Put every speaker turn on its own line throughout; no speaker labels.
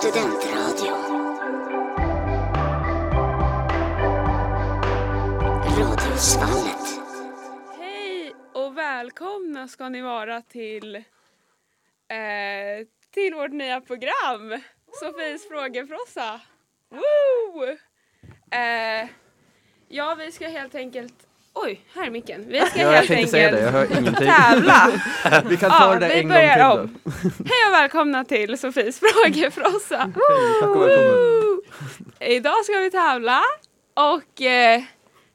Studentradion. Radhusvallet.
Hej och välkomna ska ni vara till, eh, till vårt nya program Sofies frågefrossa. Woo! Eh, ja, vi ska helt enkelt... Oj, här är micken. Vi ska
Ja, jag
helt
tänkte säga det, jag
enkelt
hör ingenting.
tävla.
Vi kan ta
Ja,
det där
vi
en gång till
börjar
då.
om. Hej och välkomna till Sofies frågefrossa.
Hej, tack och välkommen.
Woo! Idag ska vi tävla och eh,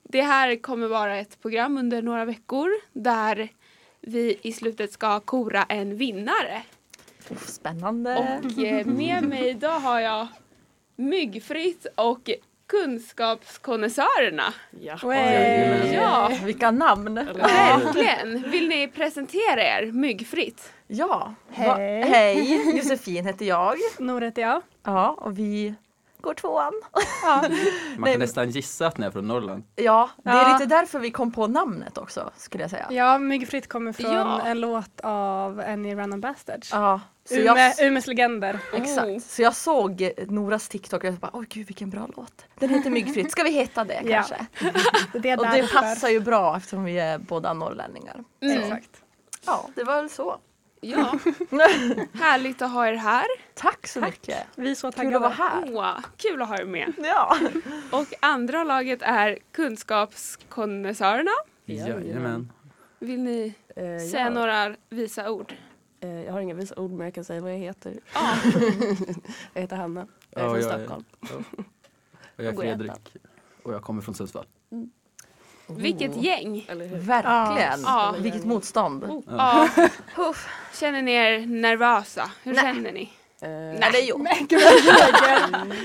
det här kommer vara ett program under några veckor där vi i slutet ska kora en vinnare.
Spännande.
Och eh, med mig idag har jag Myggfritt och Kunskapskonnässörerna.
Ja.
Jajamän.
Ja,
Vilka namn.
verkligen. Vill ni presentera er, Myggfritt?
Ja.
Hej.
Va- Hej. Josefin heter jag.
Nor heter jag.
Ja, och vi går tvåan.
Man kan nästan gissa att ni är från Norrland.
Ja, det är
Ja.
lite därför vi kom på namnet också skulle jag säga.
Ja, Myggfritt kommer från
Ja.
en låt av Any Random Bastards.
Ja, så
Ume,
jag,
Umes legender.
Oh.
exakt. Så jag såg Noras TikTok och jag bara, åh gud vilken bra låt. Den heter Myggfritt, ska vi heta det
Ja.
kanske?
Det är
Och det
därför.
passar ju bra eftersom vi är båda norrlänningar.
Exakt.
Ja, det var väl så.
Ja, härligt att ha er här.
Tack så mycket.
Vi är så
Kul att vara
taggade.
här.
Åh, kul att ha er med.
Ja.
Och andra laget är Kunskapskonnässörerna.
Jajamän.
Vill ni
Eh,
säga
ja.
några visa ord?
Eh, jag har inga visa ord men jag kan säga vad jag heter.
Ja.
Jag heter Hanna. Jag
Ja,
är från
jag är-
Stockholm.
Och jag är
Då går jag
Fredrik. Och jag kommer från Sundsvall.
Vilket gäng!
Eller hur?
Verkligen.
Ja. Oh,
Vilket motstånd.
Ja.
Puff.
Känner ni er nervösa? Hur
Nej.
känner ni?
Eh,
Nej, det är jag.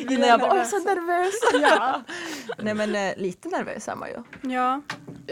Innan jag bara, "Åh, jag är så nervös. Ja. Nej men eh, lite nervös är man ju.
Ja.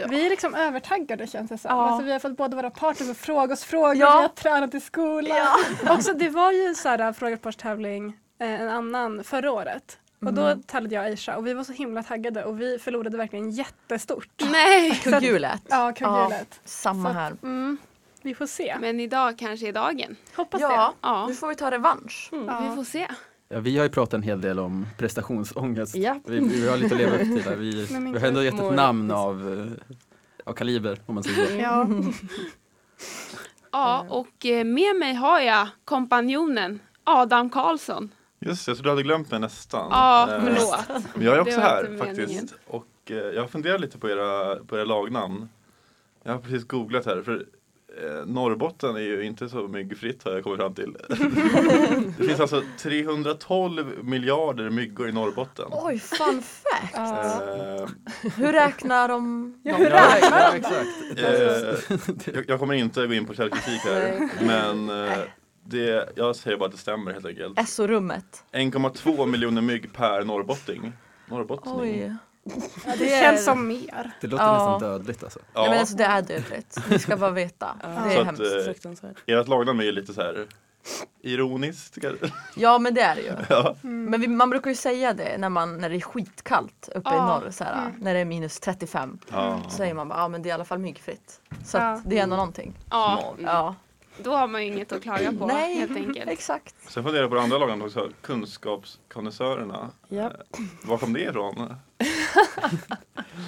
Vi är liksom övertaggade känns det som.
Ja.
Alltså, vi har fått båda våra partners att fråga oss
Ja.
frågor. Vi har tränat i skolan. Också, det var ju så här, frågepartstävling eh, en annan förra året. Och då
Mhm.
tävlade jag och Aisha och vi var så himla taggade och vi förlorade verkligen jättestort.
Nej!
Kugghjulet.
Ja, kugghjulet.
Samma här.
Mm. Vi får se.
Men idag kanske är dagen.
Hoppas
Ja,
Ja. Mm.
nu får vi ta revansch.
det. Ja.
Vi får se.
Ja, vi har ju pratat en hel del om prestationsångest.
Ja.
Vi, vi har lite att leva upp till där. Vi,
Nej, men
vi har ändå gett ett
mår-
namn av, eh, av kaliber om man säger
Mm.
så.
Ja.
Ja, och eh, med mig har jag kompanjonen Adam Karlsson.
Just det, så du hade glömt mig nästan.
Ja,
Eh,
förlåt.
Men jag är
Det
också
var
här
inte meningen.
faktiskt. Och eh, jag funderar lite på era, på era lagnamn. Jag har precis googlat här. För eh, Norrbotten är ju inte så myggfritt har jag kommit fram till. det finns alltså 312 miljarder myggor i Norrbotten.
Oj, fun fact.
Eh,
Hur räknar de?
Ja,
de-
hur
Ja, ja, exakt.
eh, jag, jag kommer inte gå in på källkritik här. Men eh, det, jag säger bara att det stämmer helt enkelt.
SO-rummet.
1,2 miljoner mygg per norrbottning. Norrbottning.
Oj.
Det,
är-
känns som mer.
Det låter
Ja.
nästan dödligt alltså.
Ja. men alltså det är dödligt. Ni ska bara veta. Det
Så
är
att,
hemskt.
eh,
Fruktansvärt.
Ert lagnamn är ju lite så här ironiskt. kanske.
Ja men det är det ju. Men vi, man brukar ju säga det när, man, när det är skitkallt uppe
Ja.
i norr. Så här, När det är minus 35.
Ja.
Så säger man bara, ja men det är i alla fall myggfritt. Så
Ja.
att det är ändå någonting.
Ja,
Ja,
då har man ju inget att klaga på
Nej.
helt enkelt.
exakt.
Sen funderar jag på det andra lagnamnet också, kunskapskonnässörerna. Eh,
Ja.
Var kom det ifrån?
Ja,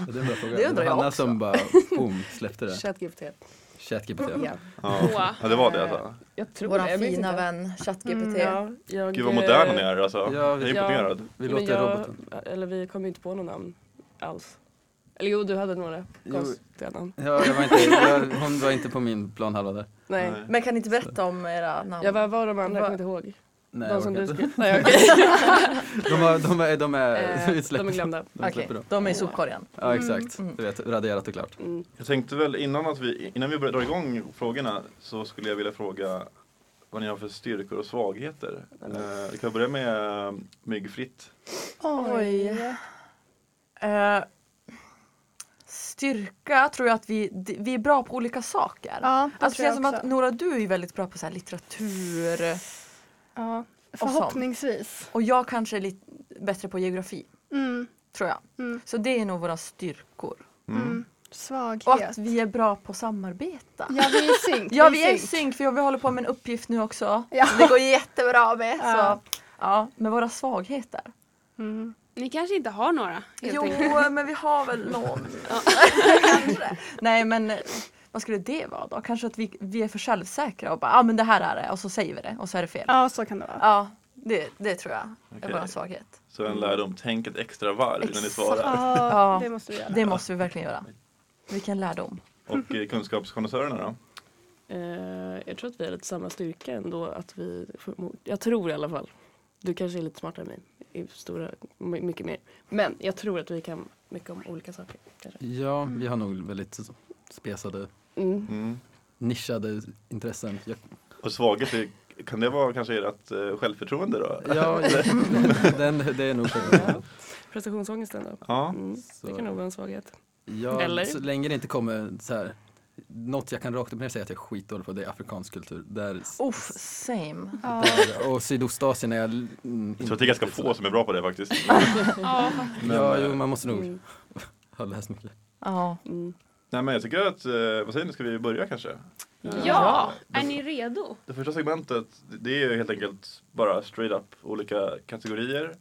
Det, är en bra fråga.
Det
var
undrar jag
Hanna
också.
som bara boom, släppte det.
ChatGPT.
ChatGPT.
Ja.
Åh.
Ja, ja det var det alltså.
Jag tror det.
Våran
jag minns
fina
inte.
vän ChatGPT.
Ja, jag,
Gud vad
eh,
moderna ni är alltså.
Ja,
Jag är
vi-
imponerad.
Vi
men
låter
jag,
roboten.
Eh, Eller vi kom ju inte på något namn alls. Eller jo, du hade några
Jo.
konstiga namn.
Ja, jag var inte, jag, hon var inte på min planhalva där.
Nej.
Nej.
Men kan ni inte berätta om era namn?
Jag var, var de andra, jag
Vad-
kommer inte ihåg.
Nej, jag
de som
orkar
du
inte.
skrev. Nej, okej.
De, har, de är, de är
Eh,
utsläppta.
de är glömda.
De
Okej,
släpper dem.
de är i sopkorgen.
Ja exakt, du vet raderat och klart.
Mm.
Jag tänkte väl innan, att vi, innan vi börjar dra igång frågorna så skulle jag vilja fråga vad ni har för styrkor och svagheter. Eh, vi kan börja med eh, myggfritt.
Oj. Eh, styrka tror jag att vi, d- vi är bra på olika saker.
Ja, det
alltså,
tror jag
känns som
också.
att Nora du är ju väldigt bra på så här litteratur
Ja.
sånt.
Förhoppningsvis.
och jag kanske är lite bättre på geografi.
Mm.
Tror jag.
Mm.
Så det är nog våra styrkor.
Mm.
Och
Svaghet.
att vi är bra på att samarbeta.
Ja, vi är i synk.
Ja vi är i
synk.
synk för vi håller på med en uppgift nu också.
Ja.
Som det går jättebra med.
Ja.
Så. Ja, med våra svagheter.
Mm.
Ni kanske inte har några helt
Jo,
enkelt.
men vi har väl någon. Kanske. Nej, men eh, vad skulle det vara då? Kanske att vi, vi är för självsäkra och bara, ja ah, men det här är det och så säger vi det och så är det fel. Ja,
Ja, så kan det vara.
det, det tror jag
Okej.
är vår svaghet.
Så en lärdom, tänk ett extra varv innan ni
Exakt.
svarar.
Ja, det måste vi göra.
Det måste vi verkligen göra. Vilken lärdom.
Och eh, kunskapskonnässörerna då?
Eh, jag tror att vi har lite samma styrka ändå. Att vi, jag tror i alla fall. Du kanske är lite smartare än mig. I stora, my- mycket mer. Men jag tror att vi kan mycket om olika saker. Kanske.
Ja, vi har nog väldigt så- spesade,
Mm.
Mm.
nischade intressen. Jag,
Och svaghet, är- kan det vara kanske ert eh, självförtroende då?
ja, den, det är nog
Ja. Prestationsångesten då.
Ja,
Mm. Det kan nog vara en svaghet.
Ja,
Eller?
så länge det inte kommer så här. Något jag kan rakt upp och ner säga att jag är skitdålig på det är afrikansk kultur. Där,
Uff, same.
Ja.
där, och Sydostasien är jag... l- mm,
jag tror att det är ganska få som är bra på det faktiskt.
Ja,
Ja,
eh,
jo, man måste nog
Mm.
ha läst mycket.
Ja.
Mm.
Nej men jag tycker att, eh, vad säger ni, ska vi börja kanske?
ja. är ni redo?
Det första segmentet det är ju helt enkelt bara straight up olika kategorier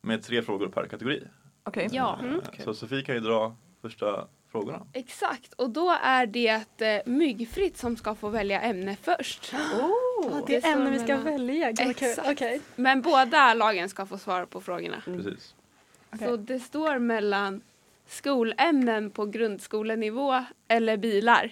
med tre frågor per kategori.
Okej.
Ja,
Eh, Så Sofie kan ju dra första frågorna.
exakt. Och då är det eh, myggfritt som ska få välja ämne först.
Oh.
Ah,
Det
det
är
är ämnen vi
så
ska
mellan-
välja. Gud, vad kul.
Exakt.
Okej.
Men båda lagen ska få svara på frågorna.
Precis.
Okej.
Så det står mellan skolämnen på grundskolenivå eller bilar.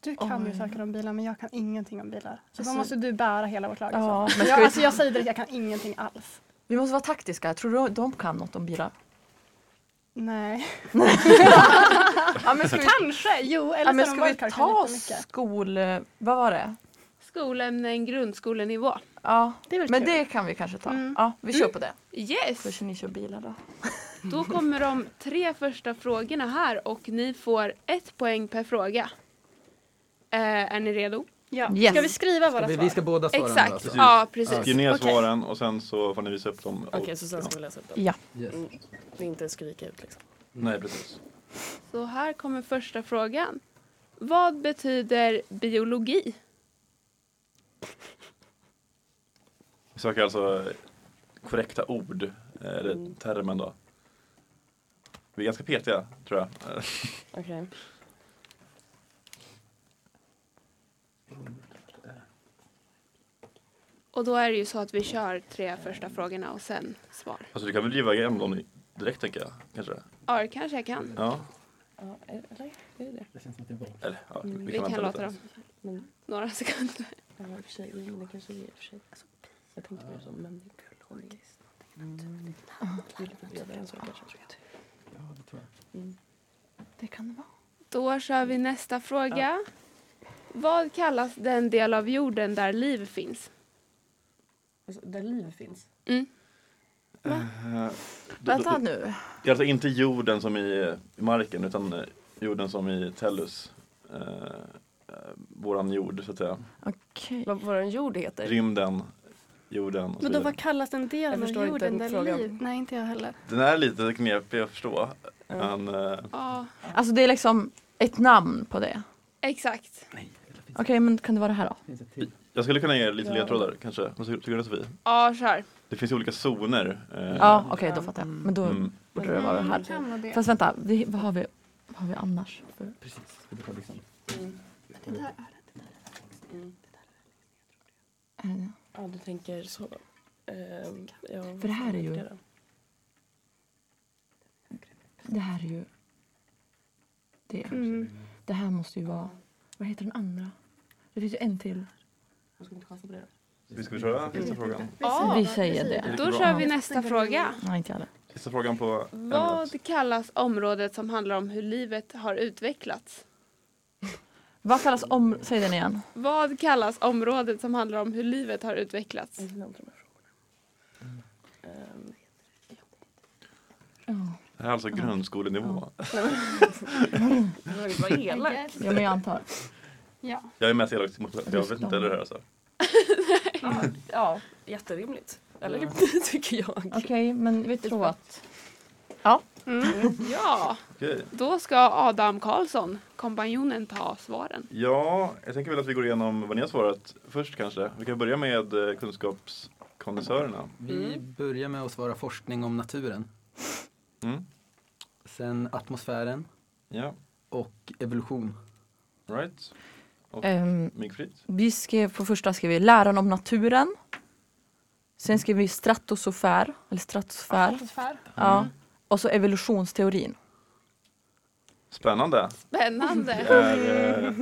Du kan ju
Oj.
saker om bilar men jag kan ingenting om bilar. Så
Alltså-
då måste du bära hela vårt lag.
Ja,
Ja,
men
men
ska
jag,
vi-
alltså, jag säger direkt, jag kan ingenting alls.
Vi måste vara taktiska. Tror du de kan något om bilar?
Nej.
Ja, men ska vi,
Kanske, jo. Eller
ja,
så
men
har de
ska vi
varit kanske
ta
lite mycket.
skol... Vad var det?
Skolämnen grundskolenivå.
Ja.
Det är väl
Men
kul.
det kan vi kanske ta.
Mm.
Ja, vi kör på det. Så
Yes!
kör ni kör bilar då.
Då kommer de tre första frågorna här och ni får ett poäng per fråga. Eh, är ni redo?
Ja.
Yes.
Ska vi skriva våra
Vi,
svar?
vi ska båda svara nu
Exakt.
alltså.
Ja, precis.
Skriv ner
Okej.
svaren och sen så får ni visa upp dem.
Okej, så sen ska vi läsa upp dem.
Ja.
Yes.
Det är Inte skrika ut liksom.
Nej precis.
Så här kommer första frågan. Vad betyder biologi?
Vi söker alltså korrekta ord, eh, eller termen då. Vi är ganska petiga tror jag. Alltså,
Okej.
Och då är det ju så att vi kör tre första frågorna och sen svar.
Alltså du kan väl driva igenom dem direkt tänker jag. Kanske.
Ja, det kanske jag kan.
Ja.
Ja, eller? Är det det?
Eller, ja
Mm,
Vi,
vänta
kan
lite.
låta dem
Men,
några sekunder.
ja, i och för sig, jo, men det kanske är i och för sig. Alltså, jag tänkte mer så människologiskt. Mm. Vill vi göra en sak kanske?
Det kan det vara.
Då kör vi nästa fråga. Vad kallas den del av jorden där liv finns?
Alltså, där liv finns.
Mm.
Eh, då-
Vänta
då-
nu.
Det är alltså inte jorden som i eh, marken utan eh, jorden som i Tellus. Eh, eh, våran jord så att säga.
Okej.
Vad vår jord heter?
Rymden, jorden och så
Men då,
vidare.
vad kallas den delen av
förstår inte
jorden där
frågan.
liv? Nej, inte jag heller.
Den är lite knepig att förstå. Men eh,
Ja,
Alltså det är liksom ett namn på det.
exakt.
Okej, men kan det vara det här då?
jag skulle kunna ge lite
Ja.
ledtrådar kanske. Vad tycker tycker du Sofie?
Ja, kör.
Det finns ju olika zoner. eh,
Ja, okej då fattar jag. Men då
Mm.
borde det vara det här.
Kan vara det.
Fast vänta, vi, vad, har vi, vad har vi annars? för-
liksom- Mm.
Är det det?
Ja, du tänker så. Ehm, ja,
Mm. För det här är ju-
det då?
Det här är ju... Det.
Mm.
det här måste ju vara... Vad heter den andra? Det finns ju en till.
Jag ska inte chansa på det.
Vi ska köra sista
Mm.
frågan.
Mm.
Ja,
vi säger det.
då kör vi nästa fråga.
Nej, inte jag heller.
Sista frågan på ämnet.
Vad kallas området som handlar om hur livet har utvecklats?
Vad kallas om... Säg den igen.
Vad kallas området som handlar om hur livet har utvecklats?
Jag glömde de här frågorna. Ehm,
Ja.
Det här är alltså grundskolenivå.
Vad elakt.
Ja, men jag antar.
Ja.
Jag är mest elak mot Jag vet inte heller det här alltså.
Ja, jätterimligt. Eller tycker jag.
Okej, men vi tror att Ja.
Ja,
Okej.
då ska Adam Karlsson, kompanjonen, ta svaren.
Ja, jag tänker väl att vi går igenom vad ni har svarat först kanske. Vi kan börja med eh, kunskapskondensörerna.
Vi börjar med att svara forskning om naturen.
Mm.
Sen atmosfären
Ja,
och evolution.
right.
Ehm,
Myggfritt.
vi skrev på första skrev vi läran om naturen. Sen skrev vi stratosfär, eller stratosfär.
Atmosfär.
Ja. Och så evolutionsteorin.
Spännande. Det
Spännande.
är eh,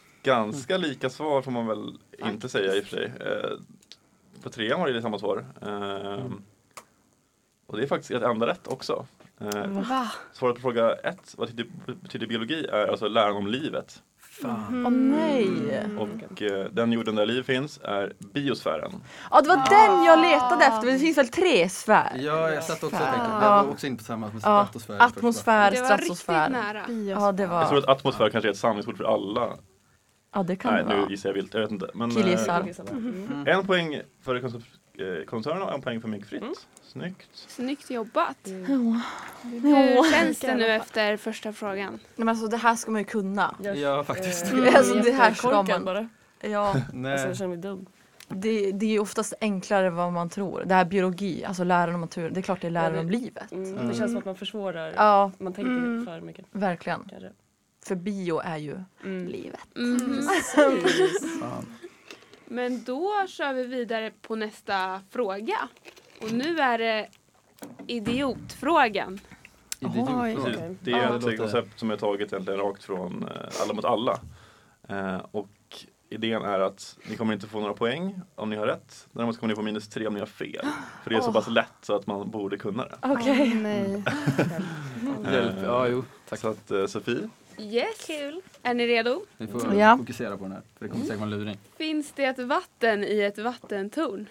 ganska
Mm.
lika svar får man väl inte säga i och för sig. Eh, på trean var det samma svar. Eh,
Mm.
och det är faktiskt ett enda rätt också. Eh,
Va?
svaret på fråga ett, vad betyder, betyder biologi, är alltså läran om livet.
Fan.
Åh nej!
Och eh, den jorden där liv finns är biosfären.
Ja det var den jag letade efter, men det finns väl tre sfär?
Ja, jag satt också och tänkte,
Fan.
jag var också inne på samma med
Ja,
atmosfär.
atmosfär,
Det var riktigt
stratosfär.
nära.
Ja det
Jag tror
var,
att atmosfär kanske är ett samlingsord för alla.
ja det kan det
Nej, nu
vara.
gissar jag vilt. Jag vet inte. Men, eh,
Killgissar.
Mm.
en poäng för konser- eh, koncernen och en poäng för myggfritt.
Mm.
Snyggt.
Snyggt jobbat.
Jo.
Hur känns det nu efter första frågan?
Nej men alltså det här ska man ju kunna.
först. Ja, faktiskt.
Alltså, det här ska man-
eh, bara.
Ja,
Alltså, jag
Nej.
känner mig dum.
det, det är ju oftast enklare än vad man tror. Det här biologi, alltså läran om naturen, det är klart det är läran
Ja,
om
det-
livet.
Mm. Det känns som att man försvårar.
Ja,
Man tänker
Mm.
för mycket
verkligen.
kanske.
För bio är ju
Mm.
livet.
Mm.
Fan.
Men då kör vi vidare på nästa fråga. Och nu är det idiotfrågan.
Idiotfråga.
Precis.
Okej.
Det är
Ja.
ett
Det låter-
koncept som är taget egentligen rakt från eh, Alla mot alla. Eh, och idén är att ni kommer inte få några poäng om ni har rätt. Däremot kommer ni få minus tre om ni har fel. För det är så pass lätt så att man borde kunna det.
Okej.
nej.
Hjälp. Ja, jo. Tack.
Så att eh, Sofie,
Yes. Kul. Är ni redo?
Vi får
Ja.
fokusera på den här. För det kommer säkert vara en luring.
Finns det ett vatten i ett vattentorn?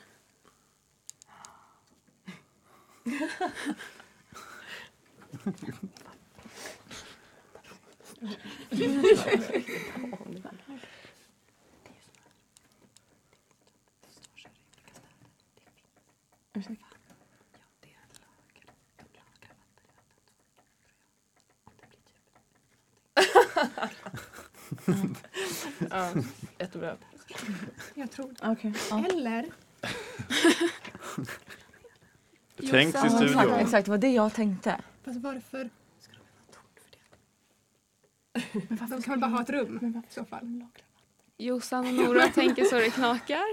Mm.
Ja, jättebra.
Jag tror det.
Okej. Ja.
Eller?
det tänks i
Ja, Exakt,
studion.
exakt, det var det jag tänkte.
Fast varför? Ska de ha en torn för det? De kan väl bara ha ett rum i så fall.
Jossan och Nora tänker så det knakar.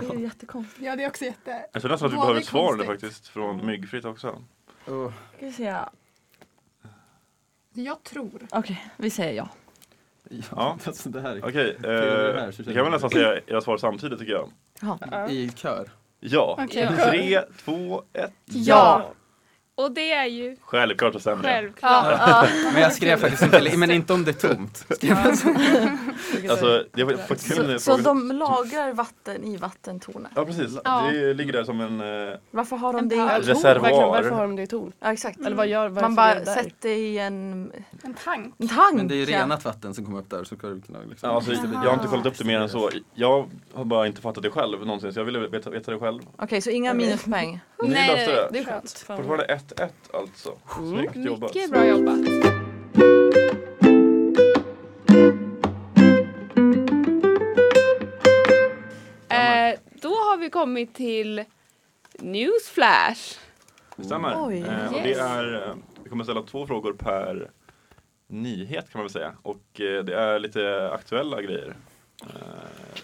Det är ju jättekonstigt.
Ja, det är också jätte...
Jag tror nästan att vi
Vad
behöver
är
ett svar nu
konstigt.
faktiskt från Myggfritt också.
Åh,
Ska vi säga?
Jag tror.
Okej, vi säger ja.
Ja.
ja, alltså det här
Okej,
är det
eh,
här, så
vi
känner
kan väl
vi.
nästan säga era svar samtidigt tycker jag.
är i kör.
Ja,
Okej.
tre, två, ett.
Ja!
Och det är ju
Självklart och sämre.
självklart.
alltså,
Men jag skrev faktiskt inte, men inte om det är tomt. Skrev jag så.
Alltså, det var faktiskt kul när
Så,
jag
så
frågade-
de lagrar vatten i vattentornet.
Ja precis,
Ja.
det ligger där som en... eh,
Varför har de
En
det i
pöl.
ett torn?
Reserv-
Verkligen,
Var.
varför har de det i torn?
Ja exakt.
Eller vad gör, varför
Mm. Man
är det
bara
där?
sätter i en,
En tank.
en tank.
Men det är ju
ja.
renat vatten som kommer upp där. Så kan du kunna liksom.
ja, alltså, jag har inte kollat upp det mer än så. Jag har bara inte fattat det själv någonsin så jag ville veta, veta det själv.
Okej, så inga minuspoäng.
Ni löste det.
Det är skönt. Fan. Mm.
Fortfarande 1-1 alltså. Snyggt jobbat.
Mycket bra jobbat. Eh, då har vi kommit till Newsflash.
Det stämmer.
Oj,
eh, och det
yes.
är, eh, vi kommer ställa två frågor per nyhet kan man väl säga. Och eh, det är lite aktuella grejer. Eh,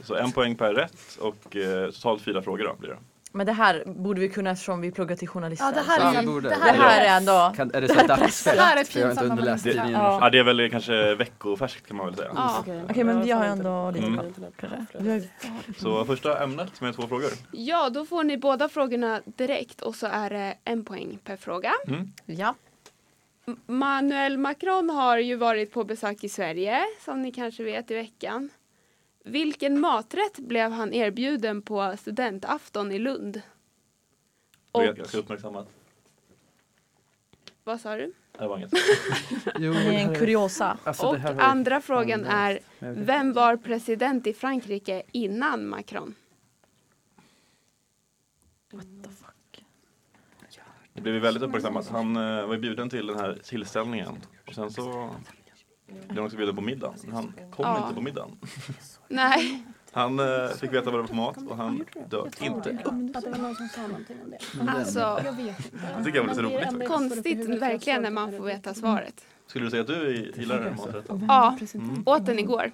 så en poäng per rätt och eh, totalt fyra frågor då blir det.
Men det här borde vi kunna eftersom vi pluggar till journalister.
Ja, det
så.
Ja,
här
vi
är,
borde.
det
det
här
här
är,
är ändå...
Kan, är det så här dags?
det här är
För jag har inte
pinsamt.
underläst
Det-
tidningen.
Ja.
Ja, det är väl kanske veckofärskt kan man väl säga.
Ja.
Okej,
Okej, men vi har ju
fan,
ändå Mm.
inte-
lite
inte-
koll.
inte- inte-
Vi har ju-
Så första ämnet med två frågor.
Ja, då får ni båda frågorna direkt och så är det en poäng per fråga.
Mm.
Ja.
M- Manuel Macron har ju varit på besök i Sverige, som ni kanske vet, i veckan. Vilken maträtt blev han erbjuden på studentafton i Lund?
Det
Och
är ganska uppmärksammat.
vad sa du?
Det var inget.
Jo,
Det är en kuriosa.
alltså,
och
det här har ju-
andra frågan
Ja,
är,
men jag vet
vem var president i Frankrike innan Macron?
What the fuck?
Det blev ju väldigt uppmärksammat. Han eh, var ju bjuden till den här tillställningen. Och sen så blev han också bjuden på middag. Men han kom
Ja.
inte på middagen.
Nej.
Han eh, fick veta vad det var för mat och han dök inte.
Att det var någon som sa någonting om det.
Alltså,
Jag vet inte.
Det tycker jag var lite roligt. faktiskt.
konstigt verkligen när man får veta svaret.
Skulle du säga att du gillar den här maträtten?
Ja,
Mm.
åt den igår.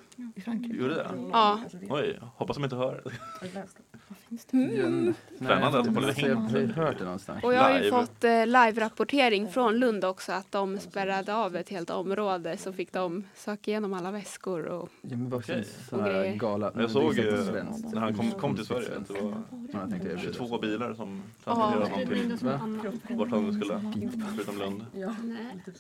Gjorde det?
Ja.
Oj, hoppas de inte hör.
Mm.
Spännande att de får lite
Jag
hint.
har inte hört det någonstans.
Och jag har ju
Live.
fått eh, live-rapportering från Lund också att de spärrade av ett helt område så fick de söka igenom alla väskor och
Ja, men vad
Okej.
finns såna här
Okej.
gala...
Jag såg,
det är säkert
eh,
svenskt.
När han kom, kom till Sverige att det var
Mm. Ja, jag tänkte erbjuda.
22 bilar som transporterade honom till vart han skulle. Förutom Lund.
typ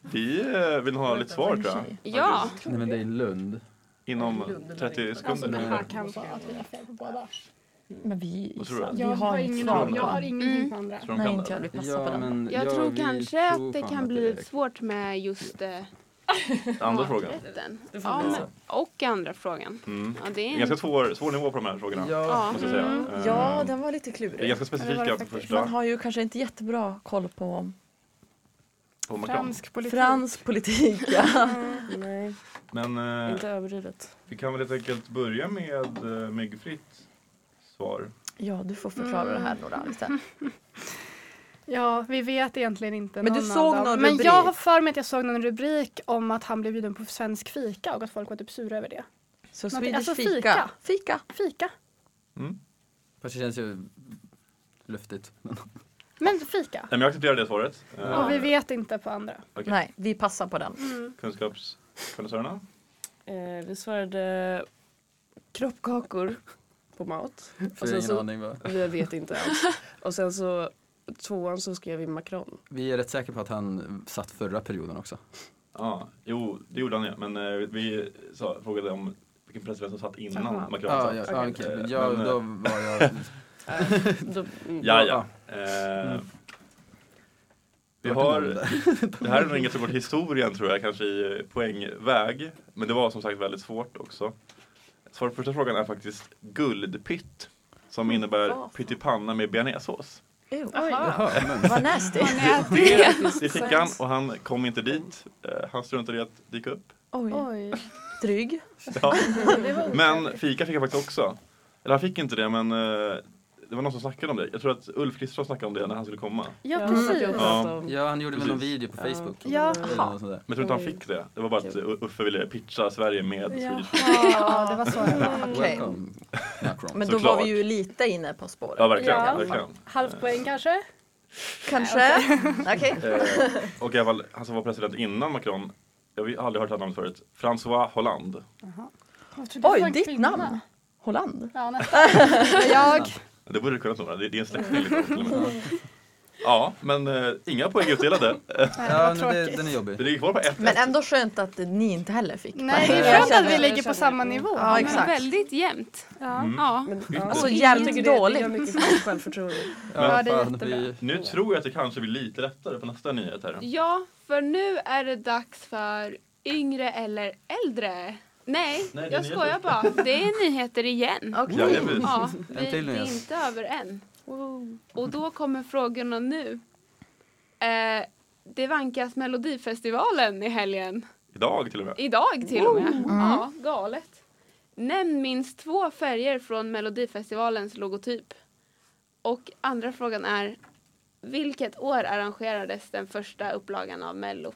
Vi eh, vill ha lite svar tror jag.
ja,
Nej men det är Lund.
Inom 30
Alltså det
sekunder.
här kan vara att vi har fel på båda.
Men vi,
Vad tror du?
vi
Jag har
inget
ingen
svar
aning. Jag
på.
har
Mm.
ingenting på andra.
Tror de
Nej,
kan
inte jag
det?
vill passa på den.
men
jag tror
vi
kanske
tror
att det
fan
kan
att
bli
är-
lite svårt med just eh,
Andra frågan.
maträtten. Ja, men, och andra frågan.
Mm.
Ja, det
Det
är
är
en...
ganska svår, svår nivå på de här frågorna.
Ja.
Måste jag säga. Eh,
Mm. Ja, den var lite
Det är
klurig.
ganska
Ja, det
specifika
var
på
det
första.
Man har ju kanske inte jättebra koll på
på Macron.
Fransk politik.
fransk politik. Ja.
Nej,
Men eh,
inte överdrivet.
vi kan väl helt enkelt börja med eh, myggfritt svar.
ja, du får förklara det
Mm.
här Nora lite.
Ja, vi vet egentligen inte
Men du
någon
såg
av dem.
någon
Men
rubrik?
jag har för mig att jag såg någon rubrik om att han blev bjuden på svensk fika och att folk var typ sura över det.
Så
Något-
Swedish
alltså
fika.
fika.
Fika.
Fika?
Mm.
Fast det känns ju luftigt. Men
Men fika.
Nej, men jag accepterar det svaret. Eh,
Och vi vet inte på andra.
Okej.
Nej, vi passar på den.
Mm.
Ehm, Kunskapskonnässörerna.
Eh, vi svarade kroppkakor på mat.
för jag har
sen
ingen
så,
aning vad.
vi vet inte alls. Och sen så tvåan så skrev vi makron.
Vi är rätt säkra på att han satt förra perioden också.
Ja, jo, det gjorde han ju. Men eh, vi sa, frågade om vilken president som satt innan
Jaha.
Macron
Ja,
satt.
ja,
Eh,
ja, okej. ja
men, eh,
då var jag...
Då, mm,
Ja, ja. Eh, Vi har, det här är nog inget som går till historien tror jag, kanske i poängväg. Men det var som sagt väldigt svårt också. Svaret på första frågan är faktiskt guldpytt. Som innebär
Vad?
pyttipanna med bearnaisesås.
Ew.
Jaha, men
Vad nasty.
Det, det fick han och han kom inte dit. Eh, Han struntade i att dyka upp.
Oj,
Oj.
dryg.
Ja.
Det var
Men fika fick jag faktiskt också. Eller han fick inte det men eh, det var någon som snackade om det. Jag tror att Ulf Kristersson snackade om det när han skulle komma.
Ja,
Ja,
precis.
jag pratade om-
ja, han gjorde väl någon
Precis.
video på Facebook.
Ja.
Eller något sånt där.
Men jag tror inte han fick det. Det var bara att U- Uffe ville pitcha Sverige med Swedish Fish.
Ja, det var så det var.
Okej.
Welcome, Macron.
Men då
Såklart.
var vi ju lite inne på spåret.
Ja, verkligen.
Ja.
verkligen.
Halvt poäng kanske?
Kanske. Okej.
Eh, och i alla fall, han som var president innan Macron, jag har aldrig hört det här namnet förut, François Hollande.
Jag trodde det var
Oj,
en
ditt
kvinna.
namn. Holland.
Ja, nästan.
Jag.
Det borde du kunna vara, det det är en släkting. Liksom, till och med. ja, men eh, inga poäng utdelade.
Ja, men det, den är jobbig.
Det ligger kvar på ett
Men
eh,
ändå skönt att ni inte heller fick.
Nej, det
Jag
är skönt att
känner-
vi ligger på samma nivå.
Ja,
men
exakt.
väldigt jämnt.
Ja.
Mm.
Ja.
Men,
Alltså
Jag
jävligt
tycker det, det gör
dåligt.
mycket för självförtroende.
Ja,
det är
fan,
jättebra.
vi-
Nu tror jag att det kanske blir lite lättare på nästa nyhet här.
ja, för nu är det dags för yngre eller äldre. Nej,
Nej, det är
jag
nyheter.
skojar bara. Det är nyheter igen.
Okej.
Ja, det är precis.
Ja, vi
En till
det är
nyhet.
inte över än. Och då kommer frågorna nu. Eh, det vankas Melodifestivalen i helgen.
Idag till och med.
Idag till och med. Ja, galet. Nämn minst två färger från Melodifestivalens logotyp. Och andra frågan är vilket år arrangerades den första upplagan av Mello?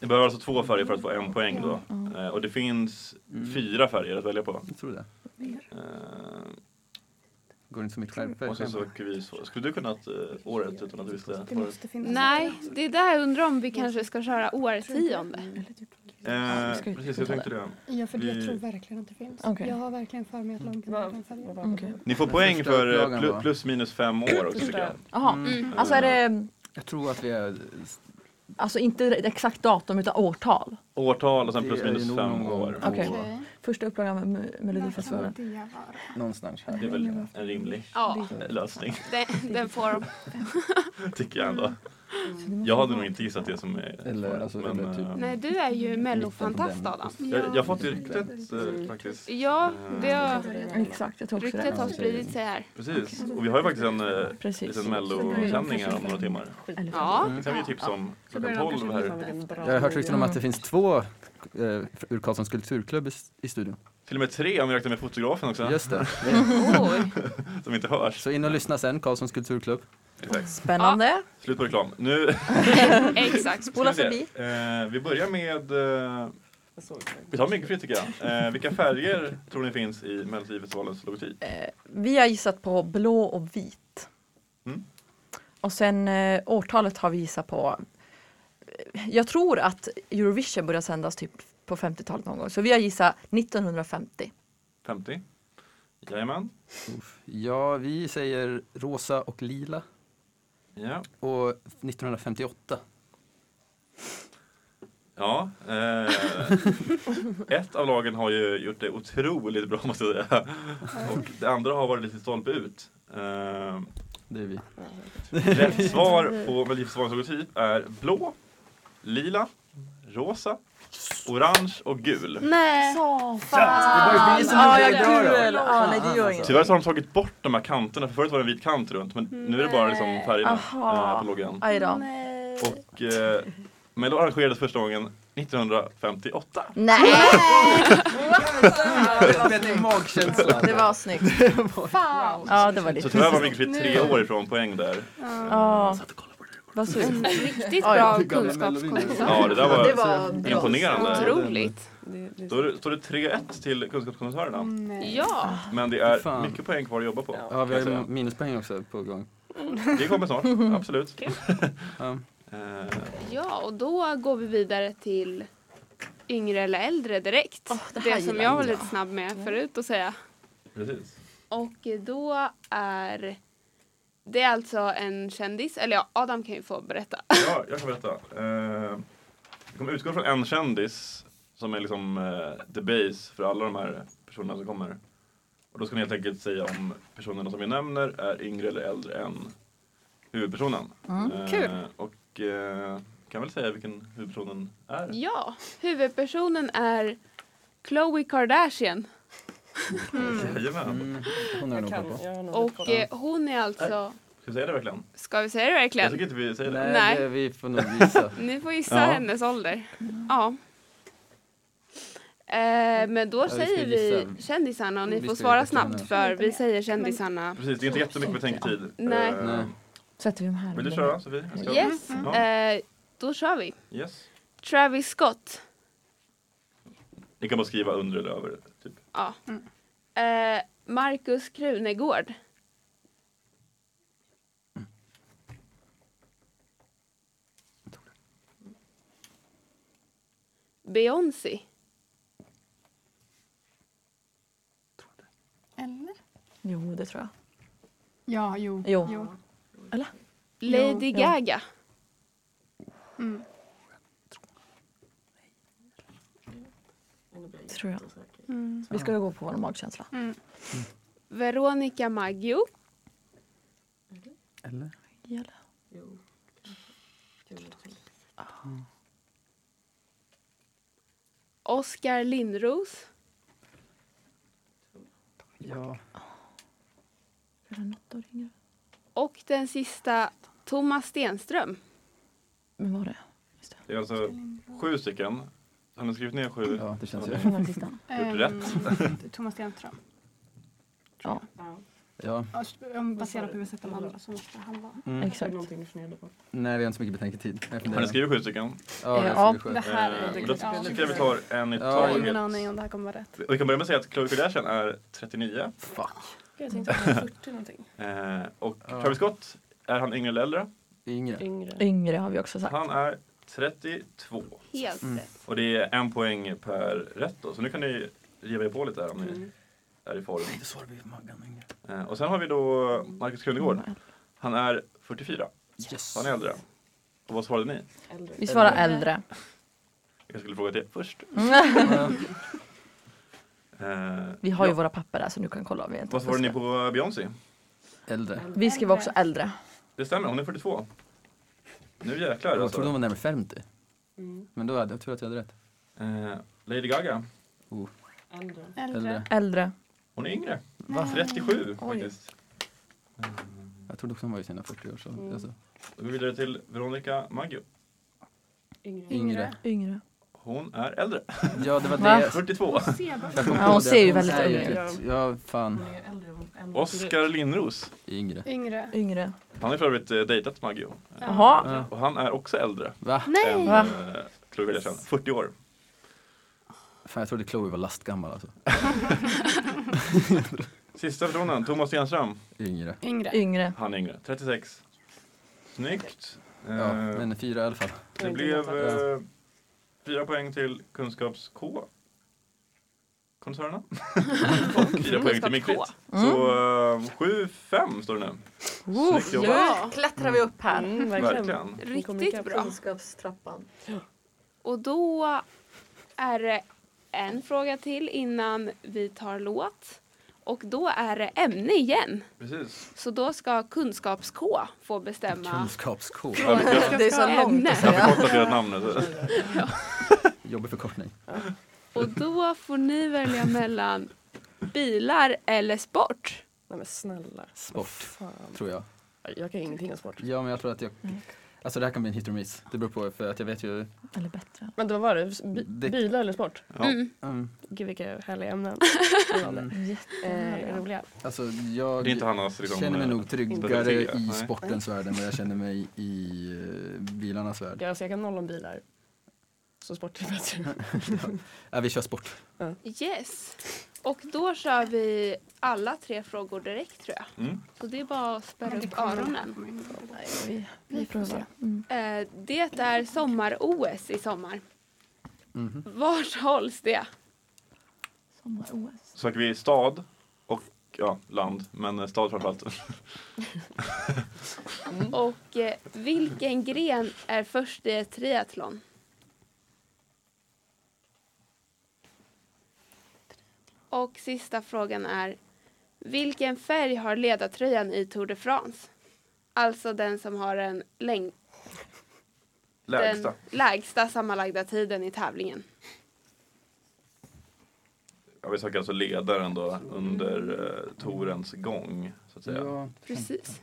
Ni behöver alltså två färger för att få en poäng då. Eh, och det finns fyra färger att välja på.
Jag tror det.
Eh,
Går inte så mycket
och sen
skärpa.
söker vi så. Skulle du kunna eh, året utan att du visste?
Det måste finnas.
Nej, det är där jag undrar om vi kanske ska köra årtionde.
Mm.
Eh, precis, jag tänkte det.
Ja, för
Vi-
jag tror verkligen att det finns.
Okej.
Jag har verkligen för mig att långblomman kan följa.
Okej.
Ni får
Den
poäng
första
för eh,
upplagan
plu-
var-
plus minus fem år också tycker jag.
Jaha.
Mm.
Alltså är det
Jag tror att vi är...
alltså inte exakt datum utan årtal?
Årtal och sen
Det
plus
är ju
minus
nog
fem
någon
år.
gång.
Okej.
Okej.
Första upplagan av Me-
Vad kan
Melodifestivalen.
det vara?
Någonstans
Det är
här. Mm.
väl en rimlig
Ja,
eh, lösning
den, den får de.
tycker jag ändå. Jag hade nog inte gissat det som är
Eller,
svaret,
alltså,
men,
eller typ-
eh,
Nej, du är ju mellofantast Adam.
jag, jag har fått det ryktet eh, faktiskt.
Ja, det har,
Exakt, jag tror också
ryktet har
det.
spridit sig här.
Precis, och vi har ju faktiskt en eh,
Precis.
liten mellosändning här om några timmar.
Ja,
Sen kan vi ju tipsa om klockan 12 här.
Jag har hört rykten om att det finns två eh, ur Karlssons kulturklubb i, i studion.
Till och med tre om vi räknar med fotografen också,
Just det.
oj.
som inte hörs.
Så in och lyssna sen, Karlssons kulturklubb.
Exakt.
Spännande.
Slut på reklam. Nu
Exakt.
Spola
ska
förbi.
vi se. Eh, vi börjar med eh, Vi tar mycket fritt tycker jag. Eh, vilka färger tror ni finns i Melodifestivalens logotyp?
Vi har gissat på blå och vit.
Mm.
Och sen eh, årtalet har vi gissat på. eh, Jag tror att Eurovision började sändas typ på 50-talet någon gång. Så vi har gissat 1950.
50? Jajamän.
Ja, vi säger rosa och lila.
Ja.
Och 1958.
ja eh, ett av lagen har ju gjort det otroligt bra måste jag säga. Och det andra har varit lite stolpe ut. Eh,
Det är vi.
rätt svar på Melodifestivalens logotyp är blå, lila, rosa, orange och gul.
Nej.
Så
Det var ju vi som
ah, Ja,
gjorde det
jag
bra då.
gul! Ja, Ah, alltså. nej det gör inget.
Tyvärr så har de tagit bort de här kanterna, för förut var det en vit kant runt men nu är det bara liksom färgerna
Aha.
eh, på loggan.
Aj då.
Och eh, Mello arrangerades första gången 1958.
Nej!
Det är magkänslan.
Det var snyggt.
Fan.
Ja, det var
Så
lite.
tyvärr var Vigfrid tre år ifrån poäng där.
Ja. Vad sur.
Riktigt
Ja,
bra
ja.
kunskapskonversation.
Ja, det där
Det
var
var bra.
imponerande.
Otroligt.
Det, det,
Då är det- står det 3-1 till
Mm.
kunskapskonnoissörerna.
eh,
Ja.
Men det är
Fan.
mycket poäng kvar att jobba på.
Ja,
kan
vi har
jag
ju
säga.
minuspoäng också på gång.
Det kommer snart, absolut.
Ja.
Eh,
ja, och då går vi vidare till yngre eller äldre direkt.
det här
det som
gillar
jag var
jag.
lite snabb med förut att säga.
Precis.
Och då är det är alltså en kändis, eller ja, Adam kan ju få berätta.
Ja, jag kan berätta. Eh, Vi kommer utgå från en kändis som är liksom eh, the base för alla de här personerna som kommer. Och då ska ni helt enkelt säga om personerna som vi nämner är yngre eller äldre än huvudpersonen. Eh,
Mm, kul.
Och eh, kan väl säga vilken huvudpersonen är?
Ja, huvudpersonen är Khloe Kardashian Mm.
Jajamän.
Mm. Hon har jag nog koll på.
och eh, hon är alltså,
Ska vi säga det verkligen?
ska vi säga det
Jag
verkligen?
tycker inte vi säger det.
Nej,
Nej.
det, vi får nog gissa.
Ni får gissa
Ja.
hennes ålder. Ja. Eh, men då
vi ska
säger vi
gissa.
kändisarna och ni
Vi
får
ska
svara
gissa
snabbt
nu.
för vi säger kändisarna.
Precis, det är inte jättemycket betänketid.
Nej.
Eh,
Nej.
Sätter vi dem här?
Vill du köra Sofie? Ska jag?
Yes,
Ja.
eh, då kör vi.
yes.
Travis Scott.
Ni kan bara skriva under eller över. Typ.
Ja. Eh, Markus Krunegård. Beyoncé.
Eller?
Jo, det tror jag.
Ja, jo.
Jo.
Lady
Jo.
Gaga.
Tror jag.
Mm.
Vi ska ju gå på vår magkänsla.
Veronica Maggio.
Eller?
Oskar Lindros.
Ja.
Och den sista, Thomas Stenström.
Men var det?
Det är alltså sju stycken. Har ni skrivit ner sju?
ja, det känns ju.
Från den sista?
Ehm,
Gjort
rätt. Thomas Stenström.
Ja,
Ja.
Om- Baserat på hur vi sett de andra så måste han vara.
Mm.
exakt.
Nej, vi har inte så mycket betänketid. Jag
Har
funderar.
ni skrivit sju stycken?
Ja,
Ja.
jag skriver
Det
sju.
här
Eh,
är...
Då
ja.
tycker jag vi tar en i
Ja,
Jag
ja.
har ingen
taget.
aning om det här kommer vara rätt.
Vi kan börja med att säga att Khloe Kardashian är 39
Fuck.
Jag tänkte att det var 40 någonting.
eh, och
Ja.
Travis Scott, är han yngre eller äldre?
Yngre.
Yngre.
Yngre har vi också sagt.
Han är 32.
Helt rätt.
Och det är en poäng per rätt då, så nu kan ni riva er på lite här om ni
Mm.
är i faror.
Det svarar vi Maggan yngre.
Eh, och sen har vi då Markus Krunegård.
Mm.
Han är 44,
Yes.
så han är äldre. Och vad svarade ni?
Vi svarar äldre.
Jag skulle fråga det först. Eh,
Vi har ju
ja.
våra papper där så du kan kolla om vi inte
Vad svarade ni
fuskar.
på Beyoncé?
Äldre.
Vi skriver också äldre.
Det stämmer, hon är 42. Nu jäklar
Jag
alltså.
trodde hon var närmare 50.
Mm.
Men då hade jag tur att jag hade rätt.
Eh, Lady Gaga,
Ändå.
Äldre.
Äldre.
hon är yngre.
Va?
37
Oj.
faktiskt.
Jag trodde också hon var i sina 40 år. Så.
Mm.
Alltså,
Då går vi vidare till Veronica Maggio.
Yngre.
Yngre.
Yngre.
Hon är äldre.
ja, det var
Va?
det.
42.
Jag kom
Ja,
på
hon
det.
ser ju
Hon
väldigt
är ju
ung ut.
typ- Ja, fan.
Hon är äldre än- än-
Oskar Lindros.
Yngre.
Yngre.
Yngre.
Han har för övrigt eh, dejtat Maggio. Eh,
Jaha.
Ja.
Och han är också äldre.
Va?
Än,
Va?
eh, Chloe Kardashian. 40 år.
Fan, jag trodde Chloe var lastgammal alltså.
Sista personen, Thomas Stenström.
Yngre.
Yngre.
Yngre.
Han är yngre. 36. Snyggt. Eh,
Ja, men fyra i alla fall.
Det blev eh, fyra poäng till kunskaps-K. Koncernen. och fyra poäng till Mikrit. Så eh, 7-5 står det nu. Snyggt jobbat.
Ja,
Klättrar vi upp här.
Mm, verkligen.
Verkligen.
riktigt bra.
Kunskapstrappan.
Och då är det en fråga till innan vi tar låt. Och då är det ämne igen.
Precis.
Så då ska kunskaps-K få bestämma.
Kunskaps-K.
Ja, men jag-
Det är så långt att
Jag
säga.
har förkortat era namn nu.
Jobbig förkortning.
Och då får ni välja mellan bilar eller sport.
Nej men snälla.
Sport.
Fan.
Tror jag.
Jag kan ingenting om sport.
Ja, men jag tror att jag... Alltså det här kan bli en hit or miss. Det beror på, för att jag vet ju...
Eller bättre.
Men vad var det? Bi-
Det-
Bilar eller sport?
Ja.
Mm,
Gud vilka härliga ämnen.
mm,
eh, roliga.
alltså jag
Det är inte Hannas liksom,
känner mig
eh,
nog tryggare
inte-
i
Nej.
sportens värld än vad jag känner mig i eh, bilarnas värld.
Ja, så jag kan noll om bilar. Så sport typ är bättre.
Ja, vi kör sport.
Yes. Och då kör vi alla tre frågor direkt tror jag.
Mm.
Så det är bara att spärra upp öronen.
Vi, vi provar.
Eh, Det är sommar-OS i sommar.
Mhm.
Var hålls det?
Sommar-OS.
Söker vi stad och ja, land, men eh, stad framförallt.
Och eh, vilken gren är först i ett triathlon? Och sista frågan är vilken färg har ledartröjan i Tour de France? Alltså den som har den, läng-
Lägsta.
den lägsta sammanlagda tiden i tävlingen.
Ja, vi söker alltså ledaren då under eh, torens gång. Så att säga.
Precis.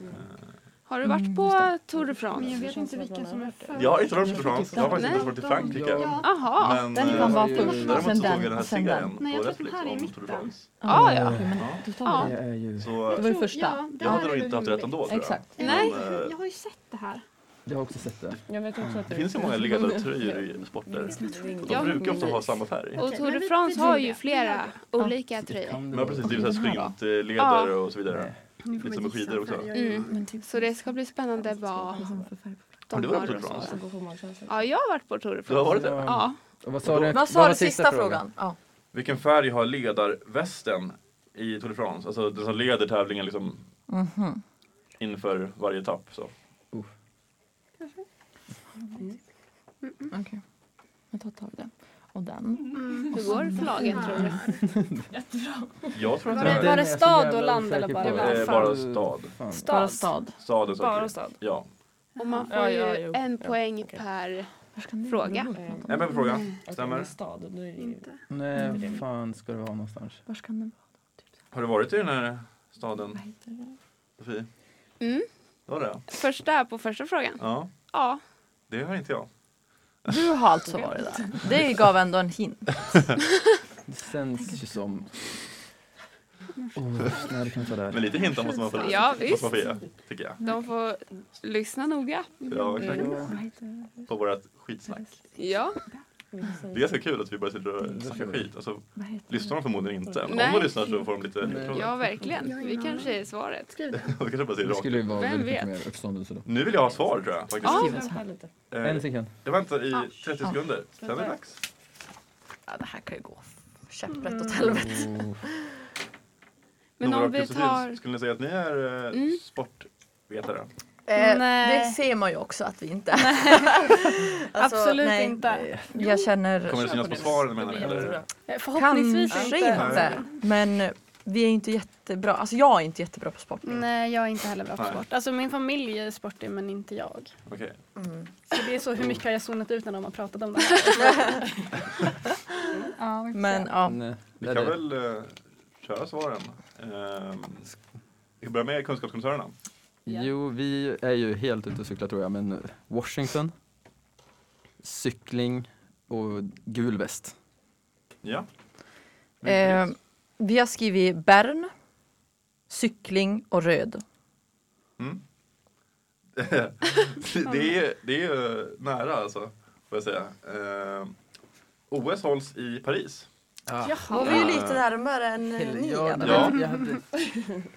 Har du varit på Tour de France?
Men jag
Mm.
vet inte vilka som är först.
Jag har inte varit i France, jag har faktiskt
Nej.
inte varit i Frankrike.
Ja.
Aha.
Men
Den
eh,
kan vara
ju-
först,
däremot så
sen
såg jag
den,
den här
och sen den.
serien
Nej,
på
jag tror att den
Netflix
här är i
om Tour de
mitten.
France.
Ah, ja.
Ja.
Du tar
Ja.
den.
Så
Det var ju första.
Ja, det
jag
här
hade nog
är
inte haft rätt
rimligt.
ändå tror jag.
Exakt.
Nej.
Men, eh,
Jag har ju sett det här.
Jag har också sett det.
Jag vet också att
det finns ju många ledartröjor i sporter. Och
Ja,
de brukar ofta ha samma färg.
Och
Okej,
Tour
men
de
vi-
France
vi
har
tar
ju
det.
flera olika tröjor.
Kan det
Men
vara-
precis, det är ju så här
Ja.
sprintledare
Ja.
och så vidare. Lite som med skidor också.
Mm. Så det ska bli spännande vad
Har
de
du varit
har
på
och
Tour de France?
så.
Som går på magkänsla.
Ja, jag har varit på Tour de
Du har
France.
varit det?
Ja.
Och Vad sa du?
Vad sa
var
du sista frågan? Ja.
Vilken färg har ledarvästen i Tour de France? Alltså den som leder tävlingen liksom
Mhm.
inför varje etapp. Så.
Okej. Jag tar tag i den. Och den.
Mm.
Mm.
Hur går det för lagen tror du?
Jag tror att
Var
det
det-
är
var det stad och
och
land eller bara
land? Eh, bara stad.
Stad.
Bara stad.
staden som
Bara
åker.
stad.
Ja.
Och man får
Ja, ja,
ju
jo.
en
Ja,
poäng
okej.
per...
Var ska ni-
Fråga.
En poäng på frågan.
Okej,
Stämmer.
det är stad, då är det ju...
Nej, vad fan ska det vara någonstans?
Var ska den vara?
Har du varit i den här staden,
Vad heter det?
Sofie?
Mm.
Det var det?
Första på första frågan.
Ja,
Ja.
det har inte jag.
Du har alltså varit där. Det gav ändå en hint.
Det känns ju som... Åh, nej, det kan inte vara
Men
där.
lite hintar måste man få rätt.
Ja,
Måste
visst.
man få ge, tycker jag.
De får lyssna noga.
Ja, exakt.
Vad heter det?
På vårat skitsnack.
Ja.
Det är ganska kul att vi bara sitter och
Det
snackar
får vi.
skit. Alltså,
Vad heter
lyssnar de förmodligen inte. Om
Nej.
de lyssnar så får de lite ledtrådar.
Ja, verkligen. Vi kanske är svaret.
De kanske bara säger
Det
rakt
skulle
ut.
ju vara
Vem
väldigt mycket
vet?
mer uppståndelse då.
Nu vill jag ha svar tror jag. Faktiskt.
Ja.
Eh,
En sekund.
jag väntar i 30 sekunder. Sen är det dags.
Ja, det här kan ju gå käpprätt åt helvete.
Oh.
Men
Nora
om
och
vi
Josefin,
tar...
Skulle ni säga att ni är eh,
Mm.
sportvetare?
Eh,
Nej.
Det ser man ju också att vi inte är. Alltså,
Absolut
nej.
inte.
Jag känner
Kommer det synas på svaren menar ni? Eller?
Förhoppningsvis
Kanske
inte.
inte. Men vi är inte jättebra, alltså jag är inte jättebra på sport.
Nej, jag är inte heller bra på
Nej.
sport. Alltså min familj är sportig men inte jag.
Okej.
Mm.
Så det är så hur mycket har jag zonat ut när de har pratat om det här? ja, vi får
Men
se.
ja,
Nej,
Vi
det är
kan
det.
väl eh, köra svaren. Ehm, vi kan börja med kunskapskoncernern.
Jo, vi är ju helt ute och cyklar tror jag, men Washington, cykling och gul väst.
Ja.
eh, vi har skrivit Bern, cykling och röd.
Mm. det, är, det är ju nära alltså, får jag säga. Ehm, OS hålls i Paris.
Var vi ju lite närmare än eh, ni.
Ja,
Anna.
Ja.
jag hade-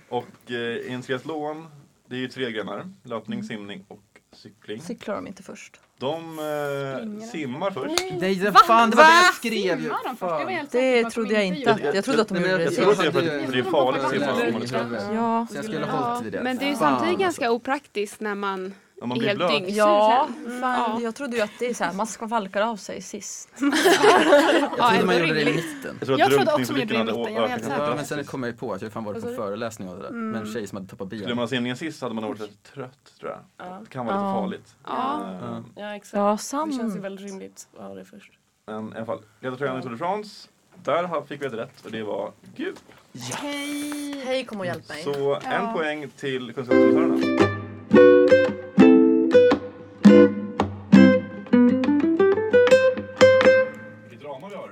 Och eh, inom triathlon, det är ju tre grenar. Löpning, simning och cykling.
Cyklar de inte först?
De eh, simmar först.
Nej, det- fan det var det jag skrev ju!
Simmar de först? Det, var
Fan.
helt säker
Det
på att de
trodde jag inte.
gjorde.
Att, jag trodde att de
Nej, men
gjorde
jag
det
Jag tror att
sist.
det är för att det är farligt att simma. om man är trött.
Ja.
Så jag skulle ha
Ja,
hållit vid det.
men det är ju
Fan,
samtidigt
alltså.
ganska opraktiskt när man
Om man
är
blir
helt
blöt.
dyngsur.
Mm. Ja,
sen.
fan,
ja.
jag trodde ju att det är så här, man ska valka av sig sist.
Jag trodde
ändå
man gjorde det i
rimligt.
mitten.
Jag tror
Jag
att
trodde också man
drunkningsolyckorna
gjorde det i
hade å-
mitten, jag var helt
ökat
säker.
Ja, men
drastiskt.
sen kom jag ju på att jag fan var det på en föreläsning och det där. Med
Mm.
en tjej som hade tappat
Skulle man
benet.
ha simningen sist hade man nog varit lite trött tror jag. Det kan vara lite
Ja.
farligt.
Ja.
Ehm,
Ja exakt.
Ja,
Det känns ju
sant.
väldigt rimligt att ha det först.
Men i alla fall, ledartröjan i Tour de France. Där ha- fick vi ett rätt och det var gul.
Hej, kom och hjälp
Så en poäng till kunskapsledarna. Vilket drama vi har.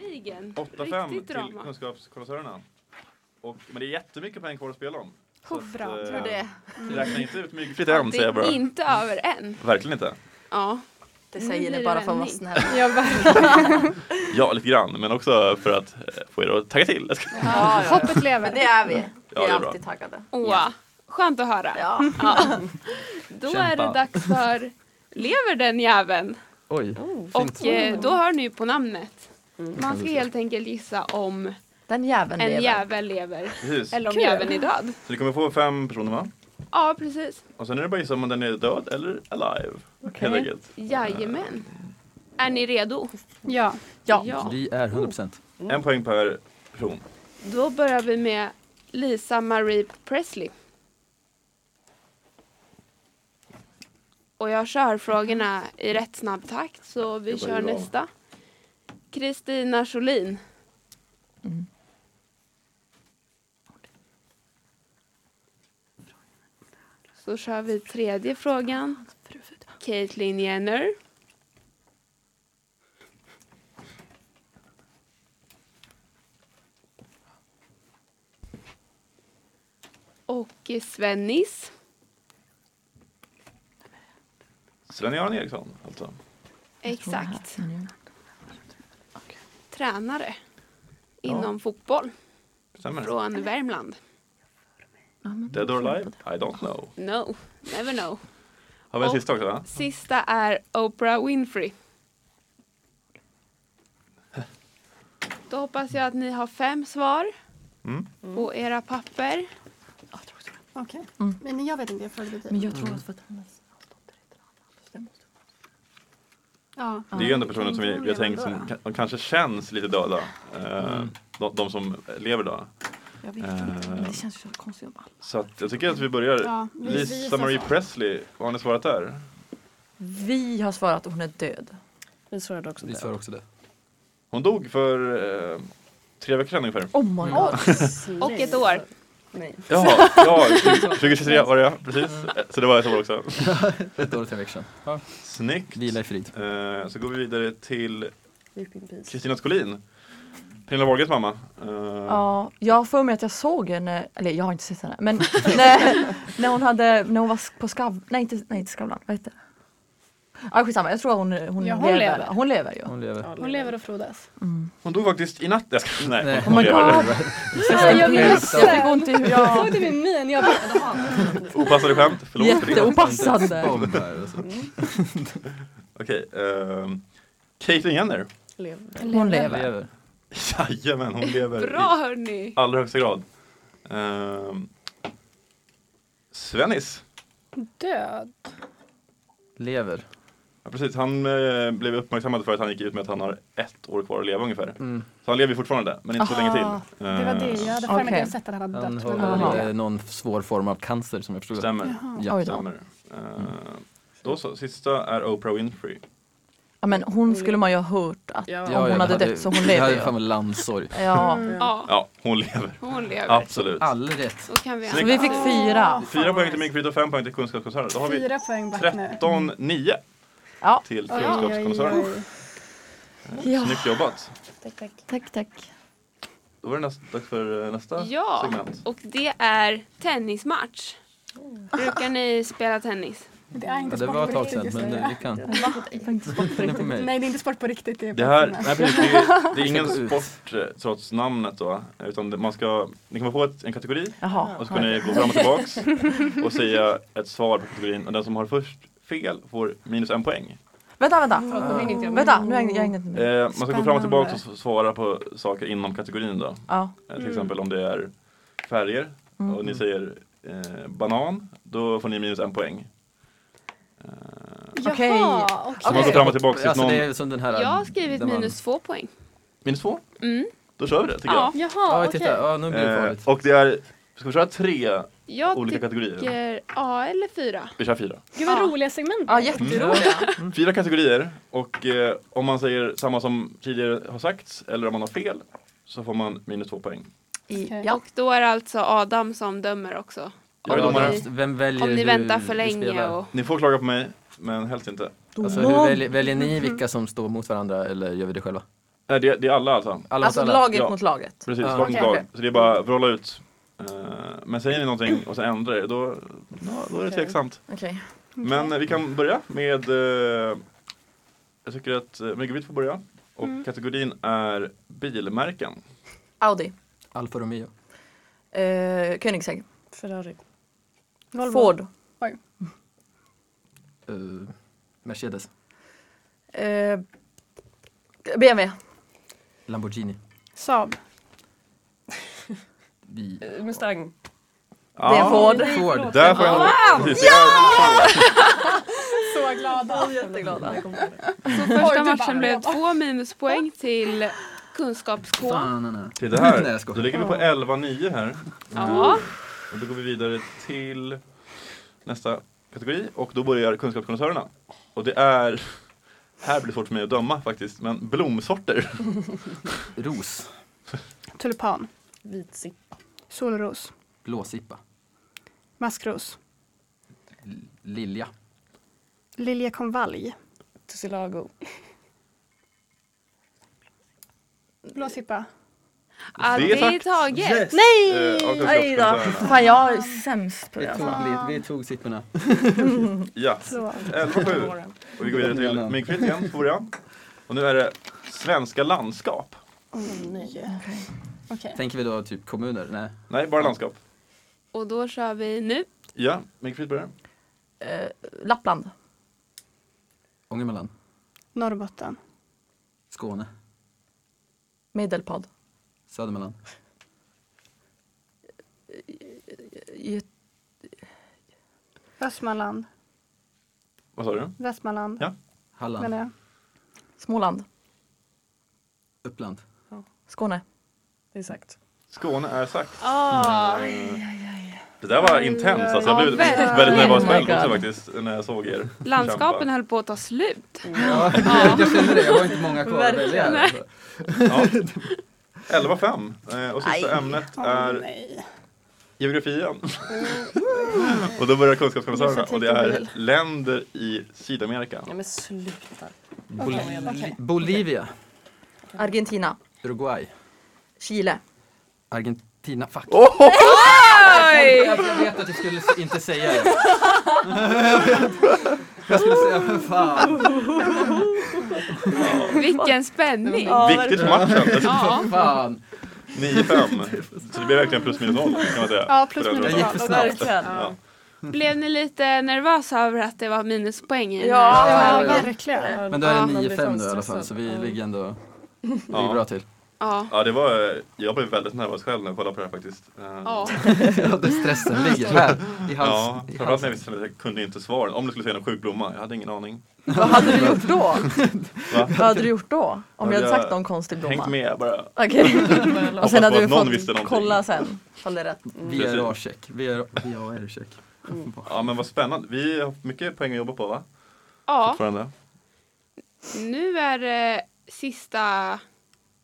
Ligen.
8-5
Riktigt
till
drama.
kunskapskolossörerna. Och, men det är jättemycket poäng kvar att spela om. Så att,
bra.
eh,
Tror
det.
Räkna inte ut myggfritt än
Mm. Det
säger jag
är
bara.
inte över än.
Verkligen inte.
Ja.
Det
Nu
säger
blir
ni
det
bara för att vara
vändning.
snäll.
Ja, lite grann. Men också för att eh, få er att tagga till.
Ja, ja,
Hoppet lever.
Men det är vi. Vi
det
är
är bra.
alltid taggade.
Åh, skönt att höra.
Ja.
Ja. Då är det
Kämpa.
dags för Lever den jäveln?
Oj.
Och eh, då hör ni ju på namnet. Man ska helt enkelt gissa om
Den
en
jäveln Mm. lever.
jävel lever
Precis.
eller om jäveln är död.
Så ni kommer få fem personer va?
Ja, precis.
Och sen är det bara att gissa om den är död eller alive. Helt enkelt.
Jajamän. Är ni redo?
Ja.
Ja.
Vi är 100%.
Mm.
En poäng per person.
Då börjar vi med Lisa Marie Presley. Och jag kör frågorna i rätt snabb takt så vi
Det var
kör
ju bra.
nästa. Kristina Scholin. Så kör vi tredje frågan. Caitlyn Jenner. Och Svennis.
Sven-Göran Eriksson alltså.
Exakt. Tränare inom fotboll
Stämmer.
från Värmland.
Dead or alive? I don't know.
No, never know.
Har vi en
Och-
sista också? va?
Sista är Oprah Winfrey. Då hoppas jag att ni har fem svar
Mm.
på era
Mm.
papper.
Okej. Men jag vet inte, jag följde
typ.
Men
dig.
jag tror att för att hennes
Ja.
Det är ju ändå personer som vi, vi har tänkt som ka- de kanske känns lite döda. Eh, de, de som lever då.
Jag vet inte. Men
Eh,
det känns ju så konstigt att bara...
så att jag tycker att vi börjar.
Ja, vi- vi
Lisa
gissar
Marie
så.
Presley, vad har ni svarat där?
Vi har svarat att hon är död.
Vi svarade också
Vi
det.
svarar också det.
Hon dog för eh, tre veckor sedan ungefär.
Oh my god.
Och ett
Mm.
år.
Nej.
Ja, ja 2023 var det ja, precis. Eh, Så det var ett år också.
Ett år till veckan.
Snyggt.
Vila i frid.
Eh, så går vi vidare till
Rip in peace.
Kristina Skolin. Pernilla Wahlgrens mamma. Eh,
Ja, jag har för mig att jag såg henne, eller jag har inte sett henne, men när, när hon hade, när hon var på Skav, nej inte, nej inte Skavlan, vad heter det? Ja skitsamma, jag tror att hon, hon,
Ja, hon
lever.
lever.
Hon lever ju.
Hon lever.
Hon lever och frodas.
Hon dog faktiskt i natt. Jag ska, nej,
Nej.
Oh my god! Nej, jag visste! Jag fick ont i
Jag
huvudet.
såg det med min. Jag bara,
Opassade skämt. Förlåt för det.
Jätteopassande!
Bomb här och så.
Okej. ehm, Caitlyn Jenner.
Lever.
Hon lever.
Lever.
Jajamän, hon lever
Bra
i
hörni!
allra högsta grad. Ehm, Svennis.
död.
Lever.
Ja, precis, han eh, blev uppmärksammad för att han gick ut med att han har ett år kvar att leva ungefär.
Mm.
Så han lever fortfarande, men inte så
Aha,
länge till. Ehm,
Det var det, jag hade för mig att
Okej.
jag sett att han hade
Han
dött.
har
men-
Jaha.
väl, eh, någon svår form av cancer som jag förstod. det.
Stämmer.
Ja.
Oj då.
Stämmer. Eh, Då så, sista är Oprah Winfrey.
Ja, men hon skulle man ju ha hört att
Ja,
om
ja,
hon
jag
hade dött så hon
Jag
lever
hade fan
ju.
väl landssorg.
Ja.
Ja,
Ja, hon lever.
hon lever.
Absolut.
All rätt.
Så kan vi alltså
Så vi fick fyra.
Fyra poäng till Myggfritt och fem poäng till Kunskapskoncernen. Då har vi
Fyra poäng back nu.
13-9
Ja.
till
Oj, oj,
Kunskapskoncernen.
oj.
Ja.
Snyggt jobbat.
Tack, tack.
Då var det näst, dags för eh, nästa
Ja,
segment.
och det är tennismatch.
Oh.
Brukar ni spela tennis?
Det är
Ja,
inte
det
sport
var ett
på
tag
riktigt.
sedan men
säger
det-
jag.
vi kan.
Faktiskt.
Spinna på mig.
Nej, det är inte sport på riktigt. Det är
Det här,
på
nej, precis, det, är, det
Jag
är ingen
ska gå ut.
sport eh, trots namnet då. eh, Utan det- man ska, ni kommer få ett, en kategori
Jaha.
och så kan ni gå fram och tillbaks och säga ett svar på kategorin. Och den som har först fel får minus en poäng.
Vänta, vänta. Vänta, nu hängde jag hängde inte
Eh,
med.
man ska gå fram och
Spännande.
tillbaka och s- svara på saker inom kategorin då.
Ja.
Eh,
Mm.
Till exempel om det är färger och ni säger eh, banan, då får ni minus en poäng.
Jaha,
Okej.
okej.
Så man går fram och tillbaka tills
Alltså
någon...
det är som den här.
Jag har skrivit
där man-
minus två poäng.
Minus två?
Mm.
Då kör vi det tycker
Ja,
Ja,
Jaha, okej.
titta. Ja, nu blir det
jag. Eh,
farligt.
och det är, ska vi köra tre
jag
olika
tycker
kategorier?
ja eller fyra.
Vi kör fyra. Mm.
Gud vad
Ja.
roliga segment.
Ja, jätteroliga.
Fyra kategorier och eh, om man säger samma som tidigare har sagts eller om man har fel så får man minus två poäng.
I- Ja.
Och då är det alltså Adam som dömer också.
Jag är
Ja,
domare.
fast Vem väljer
Om ni
hur
väntar för
vi
länge.
spelar?
Och, Mm.
Ni får klaga på mig, men helst inte.
Alltså, hur väljer, väljer ni vilka som står mot varandra eller gör vi det själva?
Nej, det, det är alla alltså.
Alla
Alltså
mot alla?
laget
Ja.
mot laget.
Precis,
Ja.
lag mot
Okej,
lag.
okej.
Så det är bara att rolla ut. Eh, men säger ni någonting och sen ändrar er, då, ja, då är det tveksamt.
Okej.
Men eh, vi kan börja med, eh, jag tycker att eh, Megabit får börja. Och
Mm.
kategorin är bilmärken.
Audi.
Alfa Romeo.
Eh, Koenigsegg.
Ferrari.
Volvo.
Ford.
eh, Mercedes.
Eh, BMW.
Lamborghini.
Saab.
Vi...
Eh, Mustang.
Det är Ford.
Ford.
Ah, Där får jag... Precis, ja!
Så glada.
Jätteglada.
så första matchen blev två minuspoäng till kunskaps-K.
Fan, nej, nej.
Till det här.
Nej, jag
Då
skojar.
ligger vi på 11-9 här. Mm.
Ja.
Och då går vi vidare till nästa kategori och då börjar kunskapskonnässörerna. Och det är, här blir det svårt för mig att döma faktiskt, men blomsorter.
Ros.
Tulipan.
Vitsippa.
Solros.
Blåsippa.
Maskros.
L- Lilja.
Liljekonvalj.
Tussilago.
Blåsippa.
Ja,
Det är
det är
sagt.
taget.
Nej!
Eh, av
Aj då.
kunskapskonnässörerna.
Fan jag är sämst på
Vi
det. alltså.
tog, li- vi tog sipporna.
Ja,
Så.
11-7. Och vi går vidare till Myggfritt igen, får jag. Och nu är det svenska landskap.
Okej.
Tänker vi då typ kommuner? Nej.
Nej, bara landskap.
Och då kör vi nu.
Ja, Myggfritt börjar.
Eh, Lappland.
Ångermanland.
Norrbotten.
Skåne.
Medelpad.
Södermanland.
Göte-
Västmanland.
Vad sa du?
Västmanland.
Ja.
Halland.
Menar jag.
Småland.
Uppland.
Skåne.
Det är sagt.
Skåne är sagt. Eh,
Ah,
Det där var intenskt alltså. Jag blev
Ja, verkligen.
väldigt nervös
Oh my
själv också
God.
faktiskt när jag såg er.
landskapen höll på att ta slut.
Ja, jag känner det. Jag har inte många kvar att
Verkligen.
välja här. alltså.
Ja. 11-5. Eh, Och sista
Aj.
ämnet
Åh,
är
nej.
geografi igen. och då börjar kunskapskommissarierna och det är länder i Sydamerika.
Ja men sluta.
Bol- Bolivia.
Argentina.
Uruguay.
Chile.
Argentina. Fuck.
Åh!
Jag vet att jag skulle s- inte säga det. Jag skulle säga för fan.
Vilken spänning.
Viktigt för matchen.
Ja.
fan.
9-5. Så det blir verkligen plus minus noll kan man säga.
Ja, plus
På den
minus
Jag
rundan.
gick för snabbt.
Ja.
Blev ni lite nervösa över att det var minuspoäng? i den
Ja.
här?
Ja,
ja.
verkligen.
Men då är det 9-5 då i alla fall så vi ligger ändå vi är
Ja.
bra till.
Ja.
Ja, det var, eh, jag blev väldigt nervös själv när jag kollade på det här faktiskt. Eh,
Ja.
Ja, där stressen ligger här i
Ja,
hals. i
framförallt när jag
halsen.
visste att jag kunde inte svaren. Om det skulle säga någon sjuk blomma, jag hade ingen aning.
Vad hade du gjort då?
Va?
Vad hade du gjort då? Om
Hade
jag hade
jag
sagt någon konstig
Hängt
blomma?
med bara.
Okej. Och
Hoppas
sen hade
på
du
att någon visste
fått
någonting.
kolla sen. Fall det är rätt.
VRA-check. VRA-check.
Ja men vad spännande. Vi har mycket poäng att jobba på va?
ja.
Fortfarande.
Nu är det sista,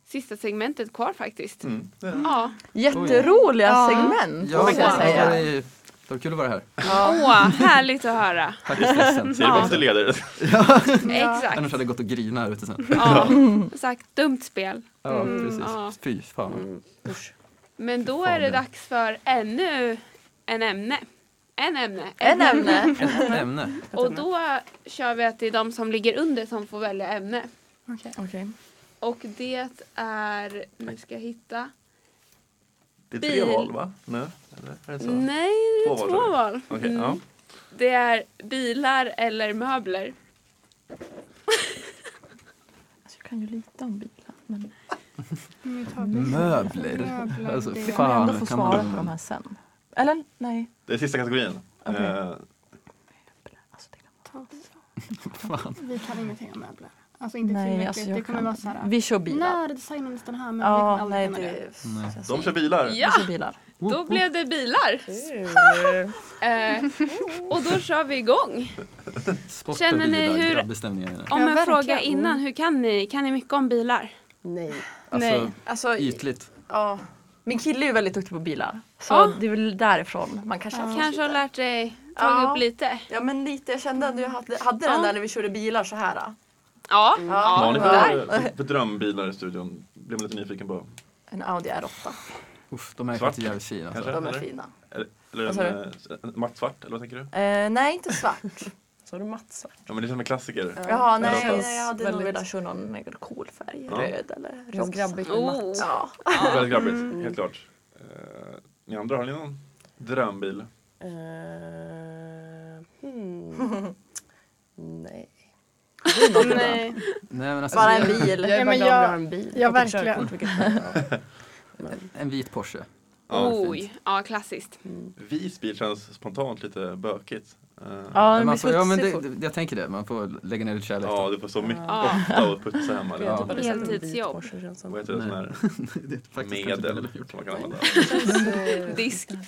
sista segmentet kvar faktiskt.
Mm. det är det.
Ja.
Jätteroliga
Ja.
segment
Ja,
måste jag
wow.
det var,
säga.
det var kul att vara här.
Åh, härligt att höra.
Tack för stressen.
Säger
Ja.
du till ledare?
Annars
Exakt.
hade jag gått och grina här ute sen.
Ja. Sagt, dumt spel.
Ja,
Mm,
precis.
ja.
Fy fan.
Men då
Fan,
är det
det.
dags för ännu en ämne. En ämne.
En ämne.
Ett ämne.
Och då kör vi att det är de som ligger under som får välja ämne.
Okej.
Och det är, nu ska jag hitta.
Det är tre
Bil.
val va? Nu? Eller är det så?
Nej, det är
Två
två
val, tror jag.
val.
Okej,
Mm.
ja.
Det är bilar eller möbler.
Alltså, jag kan ju lite om bilar. Men
Möbler. Alltså,
jag kommer
Fan,
ändå få
kan
svara
man-
på de här sen. Eller? Nej.
Det är sista kategorin.
Okej.
Eh,
Alltså, det kan man-
Vi kan ingenting om möbler. Alltså inte
Nej,
tillräckligt.
alltså, jag
det kommer
kan-
vara såhär.
Vi kör bilar.
Nördesignades den här möbeln?
Ja,
vi
nej
kan aldrig kunna
det...
Nej.
de kör bilar.
Ja,
Alltså, Vi kör bilar.
då blev det bilar. Eh, och då kör vi igång.
Sport
Känner
och
ni
bilar,
hur-
grabbstämningar. är det.
Om
Ja,
en
verkligen.
fråga innan, hur kan ni? Kan ni mycket om bilar?
Nej.
Alltså,
Alltså,
ytligt.
ja. Min kille är ju väldigt duktig på bilar. Så
Ja.
det är väl därifrån man kanske har fått
Kanske har
lite.
lärt dig ta
Ja.
upp lite?
Ja men lite, jag kände ändå jag hade, hade
Ja.
den där när vi körde bilar så här. då.
Ja.
Mm.
Ja.
Vad har ni
där.
för, för, för drömbilar i studion? Blir man lite nyfiken på.
En Audi R8.
Uff, de är
Svart.
faktiskt jävligt fina. Alltså.
Kanske?
De är
eller?
fina.
Eller, eller
Vad
en,
sa
eh, en mattsvart, eller vad tänker du?
Eh, nej inte svart.
Så har du Matsa.
Ja men det är som en klassiker.
Jaha nej,
känns
nej jag hade nog
väldigt-
velat köra någon cool färg.
Ja.
Röd eller
Känns
rosa.
grabbigt med Matsa.
Oh.
Ja.
Väldigt grabbigt, helt klart. Eh, ni andra, har ni någon drömbil?
Eh, hmm. Nej.
Mm. Nej.
Nej, men alltså,
Bara en bil.
Jag är
men
bara glad
jag-
att jag har en bil.
jag
och ett
verkligen.
körkort, vilket är bra. Men,
En vit Porsche.
Oj, ja Oh. klassiskt.
Vis bil känns spontant lite bökigt. Eh,
Ja,
Men
men
man får, ja, men
smutsig fort.
det, jag tänker det, man får lägga ner lite kärlek.
Ja,
då.
du får så mycket
Ja.
ofta och putsa hemma.
jag vet
Ja.
inte vad det är som är vit
Heltidsjobb.
Porsche, känns som.
Vad heter det? Sån här
Det är faktiskt kanske
medel
väldigt
som
gjort.
man kan använda.
Diskmedel.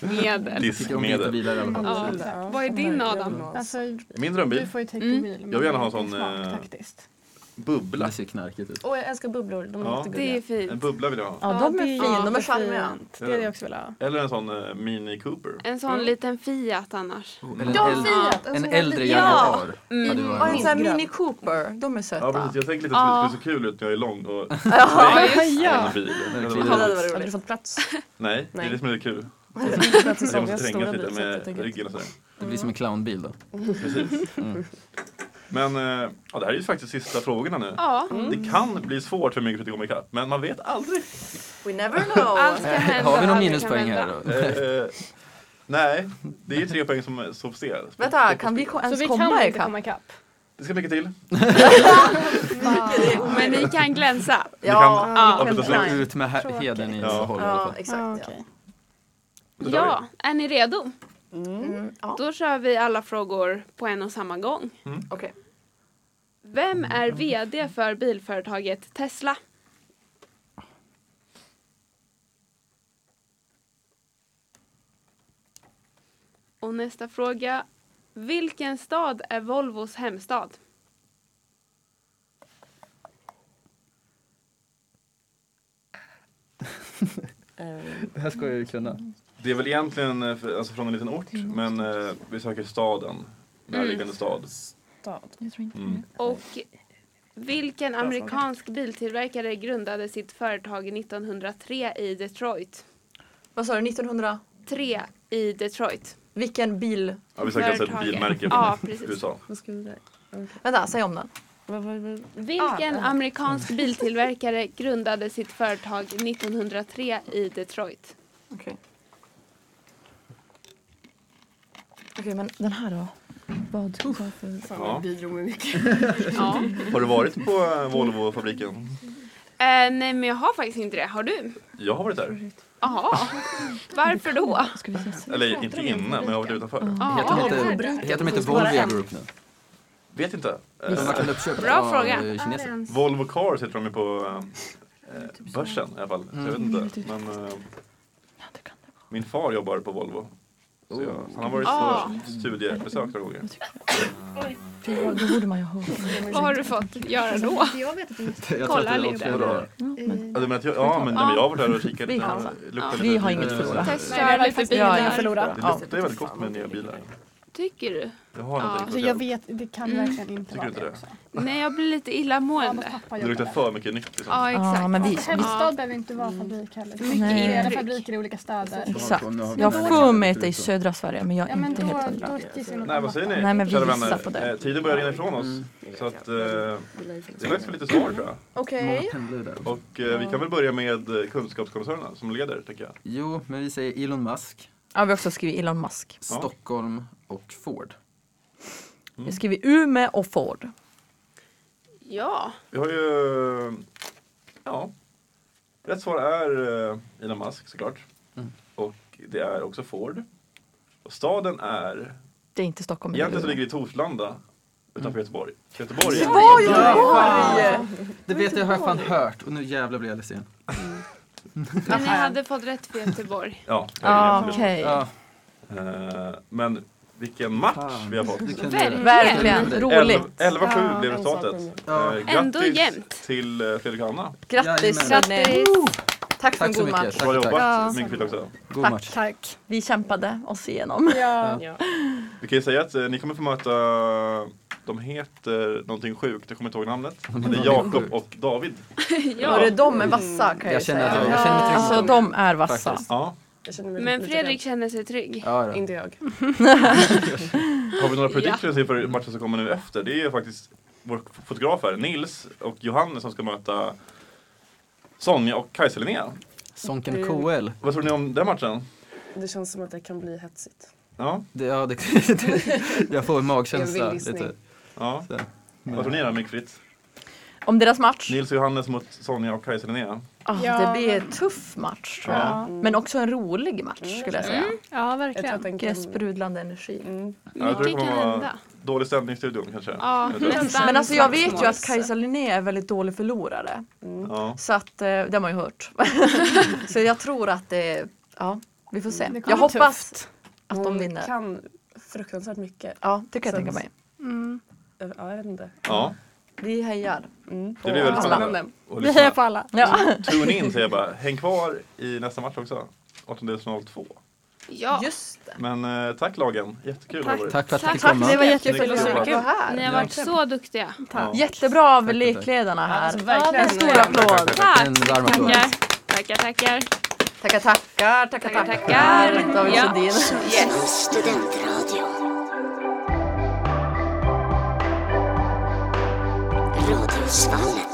Tycker om vita
Diskmedel.
bilar i alla fall.
Ja.
Ja,
Vad är
sån
Mm.
din,
här
Adam?
grön
Alltså,
Min
du
drömbil,
får ju ta hit
Mm.
på bil. men
Jag vill gärna ha en
det är
sån,
smart,
eh,
faktiskt.
bubbla.
Det ser knarkigt ut.
Åh, jag älskar bubblor. De är
Ja.
Det är
jättegulliga.
En
fint.
bubbla vill jag ha.
Ja, de är
det
fina, de är
jättefint.
charmiga.
Det hade jag också velat ha.
Eller en sån eh, Mini Cooper.
En
Mm.
sån liten Fiat annars.
Eller
Ja,
en, äldre-
Fiat!
en
Alltså,
äldre
ja.
Jaguar.
Mm.
hade
Och en
varit
sån här Mini Cooper, de är
Ja
söta.
precis, jag tänker lite
Ja.
att det skulle se kul ut när jag är lång och
Ja, just det.
ja. bil. Det
det hade
hade
varit
varit-
Hade
roligt.
du fått liksom plats?
Nej, det är det som är lite kul.
Plats i
Jag
Sonjas
måste
stora
trängas
bil.
lite
så att jag
med
tänker att-
ryggen och sådär.
Det blir som en clownbil då.
Precis. Men eh, ja, det här är ju faktiskt sista frågorna nu.
Ja, Mm.
Det kan bli svårt för mycket att komma ikapp, men man vet aldrig.
We never know.
allt kan hända.
Har vi någon
allt kan
minuspoäng
hända.
här då?
Eh, nej, det är ju tre poäng som står på spel.
Vänta, kan vi ko-
Så
ens
vi
alltså, komma
kan inte
ikapp?
komma ikapp.
Det ska mycket till.
Men ni kan glänsa.
kan-
Ja,
Ja,
vi
precis.
kan
Slå
inte.
ut med he-
Tråkigt.
heden i
Ja.
Laholm i alla
Ja,
fall.
Ja,
exakt. ja.
okej.
Då kör
Ja, är ni redo?
Mm, ja.
Då kör vi alla frågor på en och samma gång.
Okej.
Vem är VD för bilföretaget Tesla? Och nästa fråga. Vilken stad är Volvos hemstad?
Eh,
Det här ska jag ju kunna.
vi. Det är väl egentligen eh, för- alltså från en liten ort, men eh, vi söker staden. Närliggande stad.
Stad.
Jag tror inte
Mm.
Och vilken amerikansk biltillverkare grundade sitt företag 1903 i Detroit?
Vad sa du, 1900?
3 i Detroit.
Vilken bil?
Ja, vi söker alltså ett
Företaget.
bilmärke
Ja,
från
precis.
USA.
Vad ska vi där?
Vänta, säg om den.
Vad var det?
Vilken amerikansk biltillverkare grundade sitt företag 1903 i Detroit?
Okej. Okej, men den här då? Vad? Varför?
Ja.
bidrog med mycket.
Ja.
Har du varit på eh, Volvo-fabriken?
Eh, nej men jag har faktiskt inte det. Har du?
Jag har varit där.
Jaha. Varför då?
Ska vi se?
Eller inte inne, men jag har varit utanför.
Heter
Jaha.
de inte, heter de inte Volvia Group nu?
Vet inte.
De var
Eh,
väl uppköpta
Bra
av,
fråga.
eh, kineser.
Volvo Cars heter de ju på eh, eh,
Typ
börsen i alla fall. Så Jag
Mm.
vet inte. Men, eh, min far jobbar på Volvo. Så jag, han har varit
Ah.
på studiebesök några gånger.
Ja, då borde man ju ha.
Vad har du fått göra då?
Jag vet inte.
Jag tror att
Kolla
det är
lite.
avslöjande.
Mm.
Ja, du menar att jag, ja, men, nej, men jag har varit där och kikat
Ah. Vi
lite.
har- Ah.
Det luktar
Vi
lite-
har inget Ah. att förlora.
Testa lite bilar.
förlora.
Det luktar ju väldigt gott med nya bilar.
Tycker du?
Jag har
Ah.
Ja.
eh,
någonting
Alltså
för
jag
jag
vet, det kan
Mm.
verkligen inte
Tycker du
vara
inte
det
det?
också.
Nej jag blir lite
Fast
illamående.
pappa
Det
jobbar
luktar
där.
för mycket nytt. Liksom.
Ja
Ah, Ja,
exakt.
men vi,
Hemstad behöver inte vara fabrik heller. Det
Mycket
kan
Nej.
flera
intryck.
fabriker i olika städer.
Exakt. Jag har för mig att det är i södra Sverige men jag är
Ja men
inte
då,
helt
då,
hundra.
då finns det något
Nej, vad säger ni?
Nej, men vi
kära
gissar
vänner?
på det. Mm.
Eh, Tiden börjar rinna ifrån oss. Så att, eh, det är dags för lite svar tror jag.
Mm.
Många pendlar där.
Och eh, vi kan väl börja med eh, kunskapskoncernerna som leder, tänker jag.
Jo, men vi säger Elon Musk,
Ja, vi har också skrivit Elon Musk.
Stockholm och Ford.
Jag skriver Umeå och Ford.
Ja.
Vi har ju... eh, Ja. Rätt svar är eh, Elon Musk såklart.
Mm.
Och det är också Ford. Och staden är...
Det är inte Stockholm. det är
Egentligen så
Umeå.
ligger det i Torslanda
Mm.
utanför Göteborg. Göteborg!
Det vet jag, har jag fan hört. Och nu jävlar blir jag ledsen.
Men ni hade fått rätt för Göteborg.
Ja, det är
Ja,
absolut.
Ah, okej.
Ja,
Eh, Men vilken match
Fan.
vi har fått!
du kan göra det.
Verkligen, roligt.
11-7 blev
Ja,
resultatet.
Ja.
Eh,
Ändå
grattis
jämnt.
till eh, Fredrik och Anna.
Grattis
Jajamän.
hörni. Tack för en
Tack så
god match.
mycket.
Bra
Tack, tack.
jobbat, Mynkvitt också.
God match.
Tack.
Vi kämpade oss igenom.
Ja.
Ja.
Vi kan ju säga att eh, ni kommer få möta, de heter någonting sjukt, jag kommer inte ihåg namnet. Men det är Jakob och David.
Och
Ja.
det, de är vassa kan jag,
Jag
ju
känner,
säga.
att jag, jag känner mig trygg
Alltså
med dem.
de är vassa.
Faktiskt.
Ja.
Jag känner mig
Men
lite
Fredrik känner sig trygg.
Ja,
rädd.
då.
Inte jag.
Har vi några predictions inför matchen som kommer nu efter? Det är ju faktiskt vår fotograf här, Nils och Johannes som ska möta Sonja och Kajsa Linnea.
Sonken KL.
Vad tror ni om den matchen?
Det känns som att det kan bli hetsigt.
Ja,
Det, ja, det, jag får en
Det är
magkänsla
en vild gissning.
lite.
ja.
Så.
Vad tror ni då, Mynkvitt?
Om deras match.
Nils och Johannes mot Sonja och Kajsa Linnea.
Ah,
Ja.
Det blir en tuff match tror jag.
Ja.
Men också en rolig match skulle jag säga.
Ja,
Jag tror att
verkligen.
den kan...
Mycket sprudlande energi.
Mm.
jag tror det
Mycket kan
kommer vara-
hända.
Dålig stämning i studion kanske?
Ja,
Jag vet inte.
nästan.
Men alltså jag vet ju
slagsmål.
att Kajsa Linné är väldigt dålig förlorare.
Ja.
Så att, eh, det har man ju hört. så jag tror att det, ja vi får se.
Det kommer
Jag
bli
hoppas att de
Hon
vinner.
Mm. kan fruktansvärt mycket.
Ja det kan jag
Sen-
tänka mig.
Mm.
Ja, jag vet inte.
ja,
Vi hejar.
Mm.
det blir väldigt
Ja.
spännande. Och
Vi
lyssna.
hejar på alla.
Ja.
Tune in säger jag bara. Häng kvar i nästa match också. 18.02.
Ja.
Just det.
Men eh, tack lagen, jättekul har det varit.
Tack för att du
Tack.
fick komma.
Det var
Snyggt
jättekul att
jobbat.
vara här.
Ni har varit så duktiga.
Ja.
Jättebra av
Tack, tack.
lekledarna här.
Alltså,
En
verkligen.
stor applåd.
Tack!
En varm applåd.
Tackar, tackar. tackar.
Tackar, tackar,
Tackar,
tackar,
tackar.
David
Ja.
Sundin.
Sundsvalls studentradio. Radhusvallet.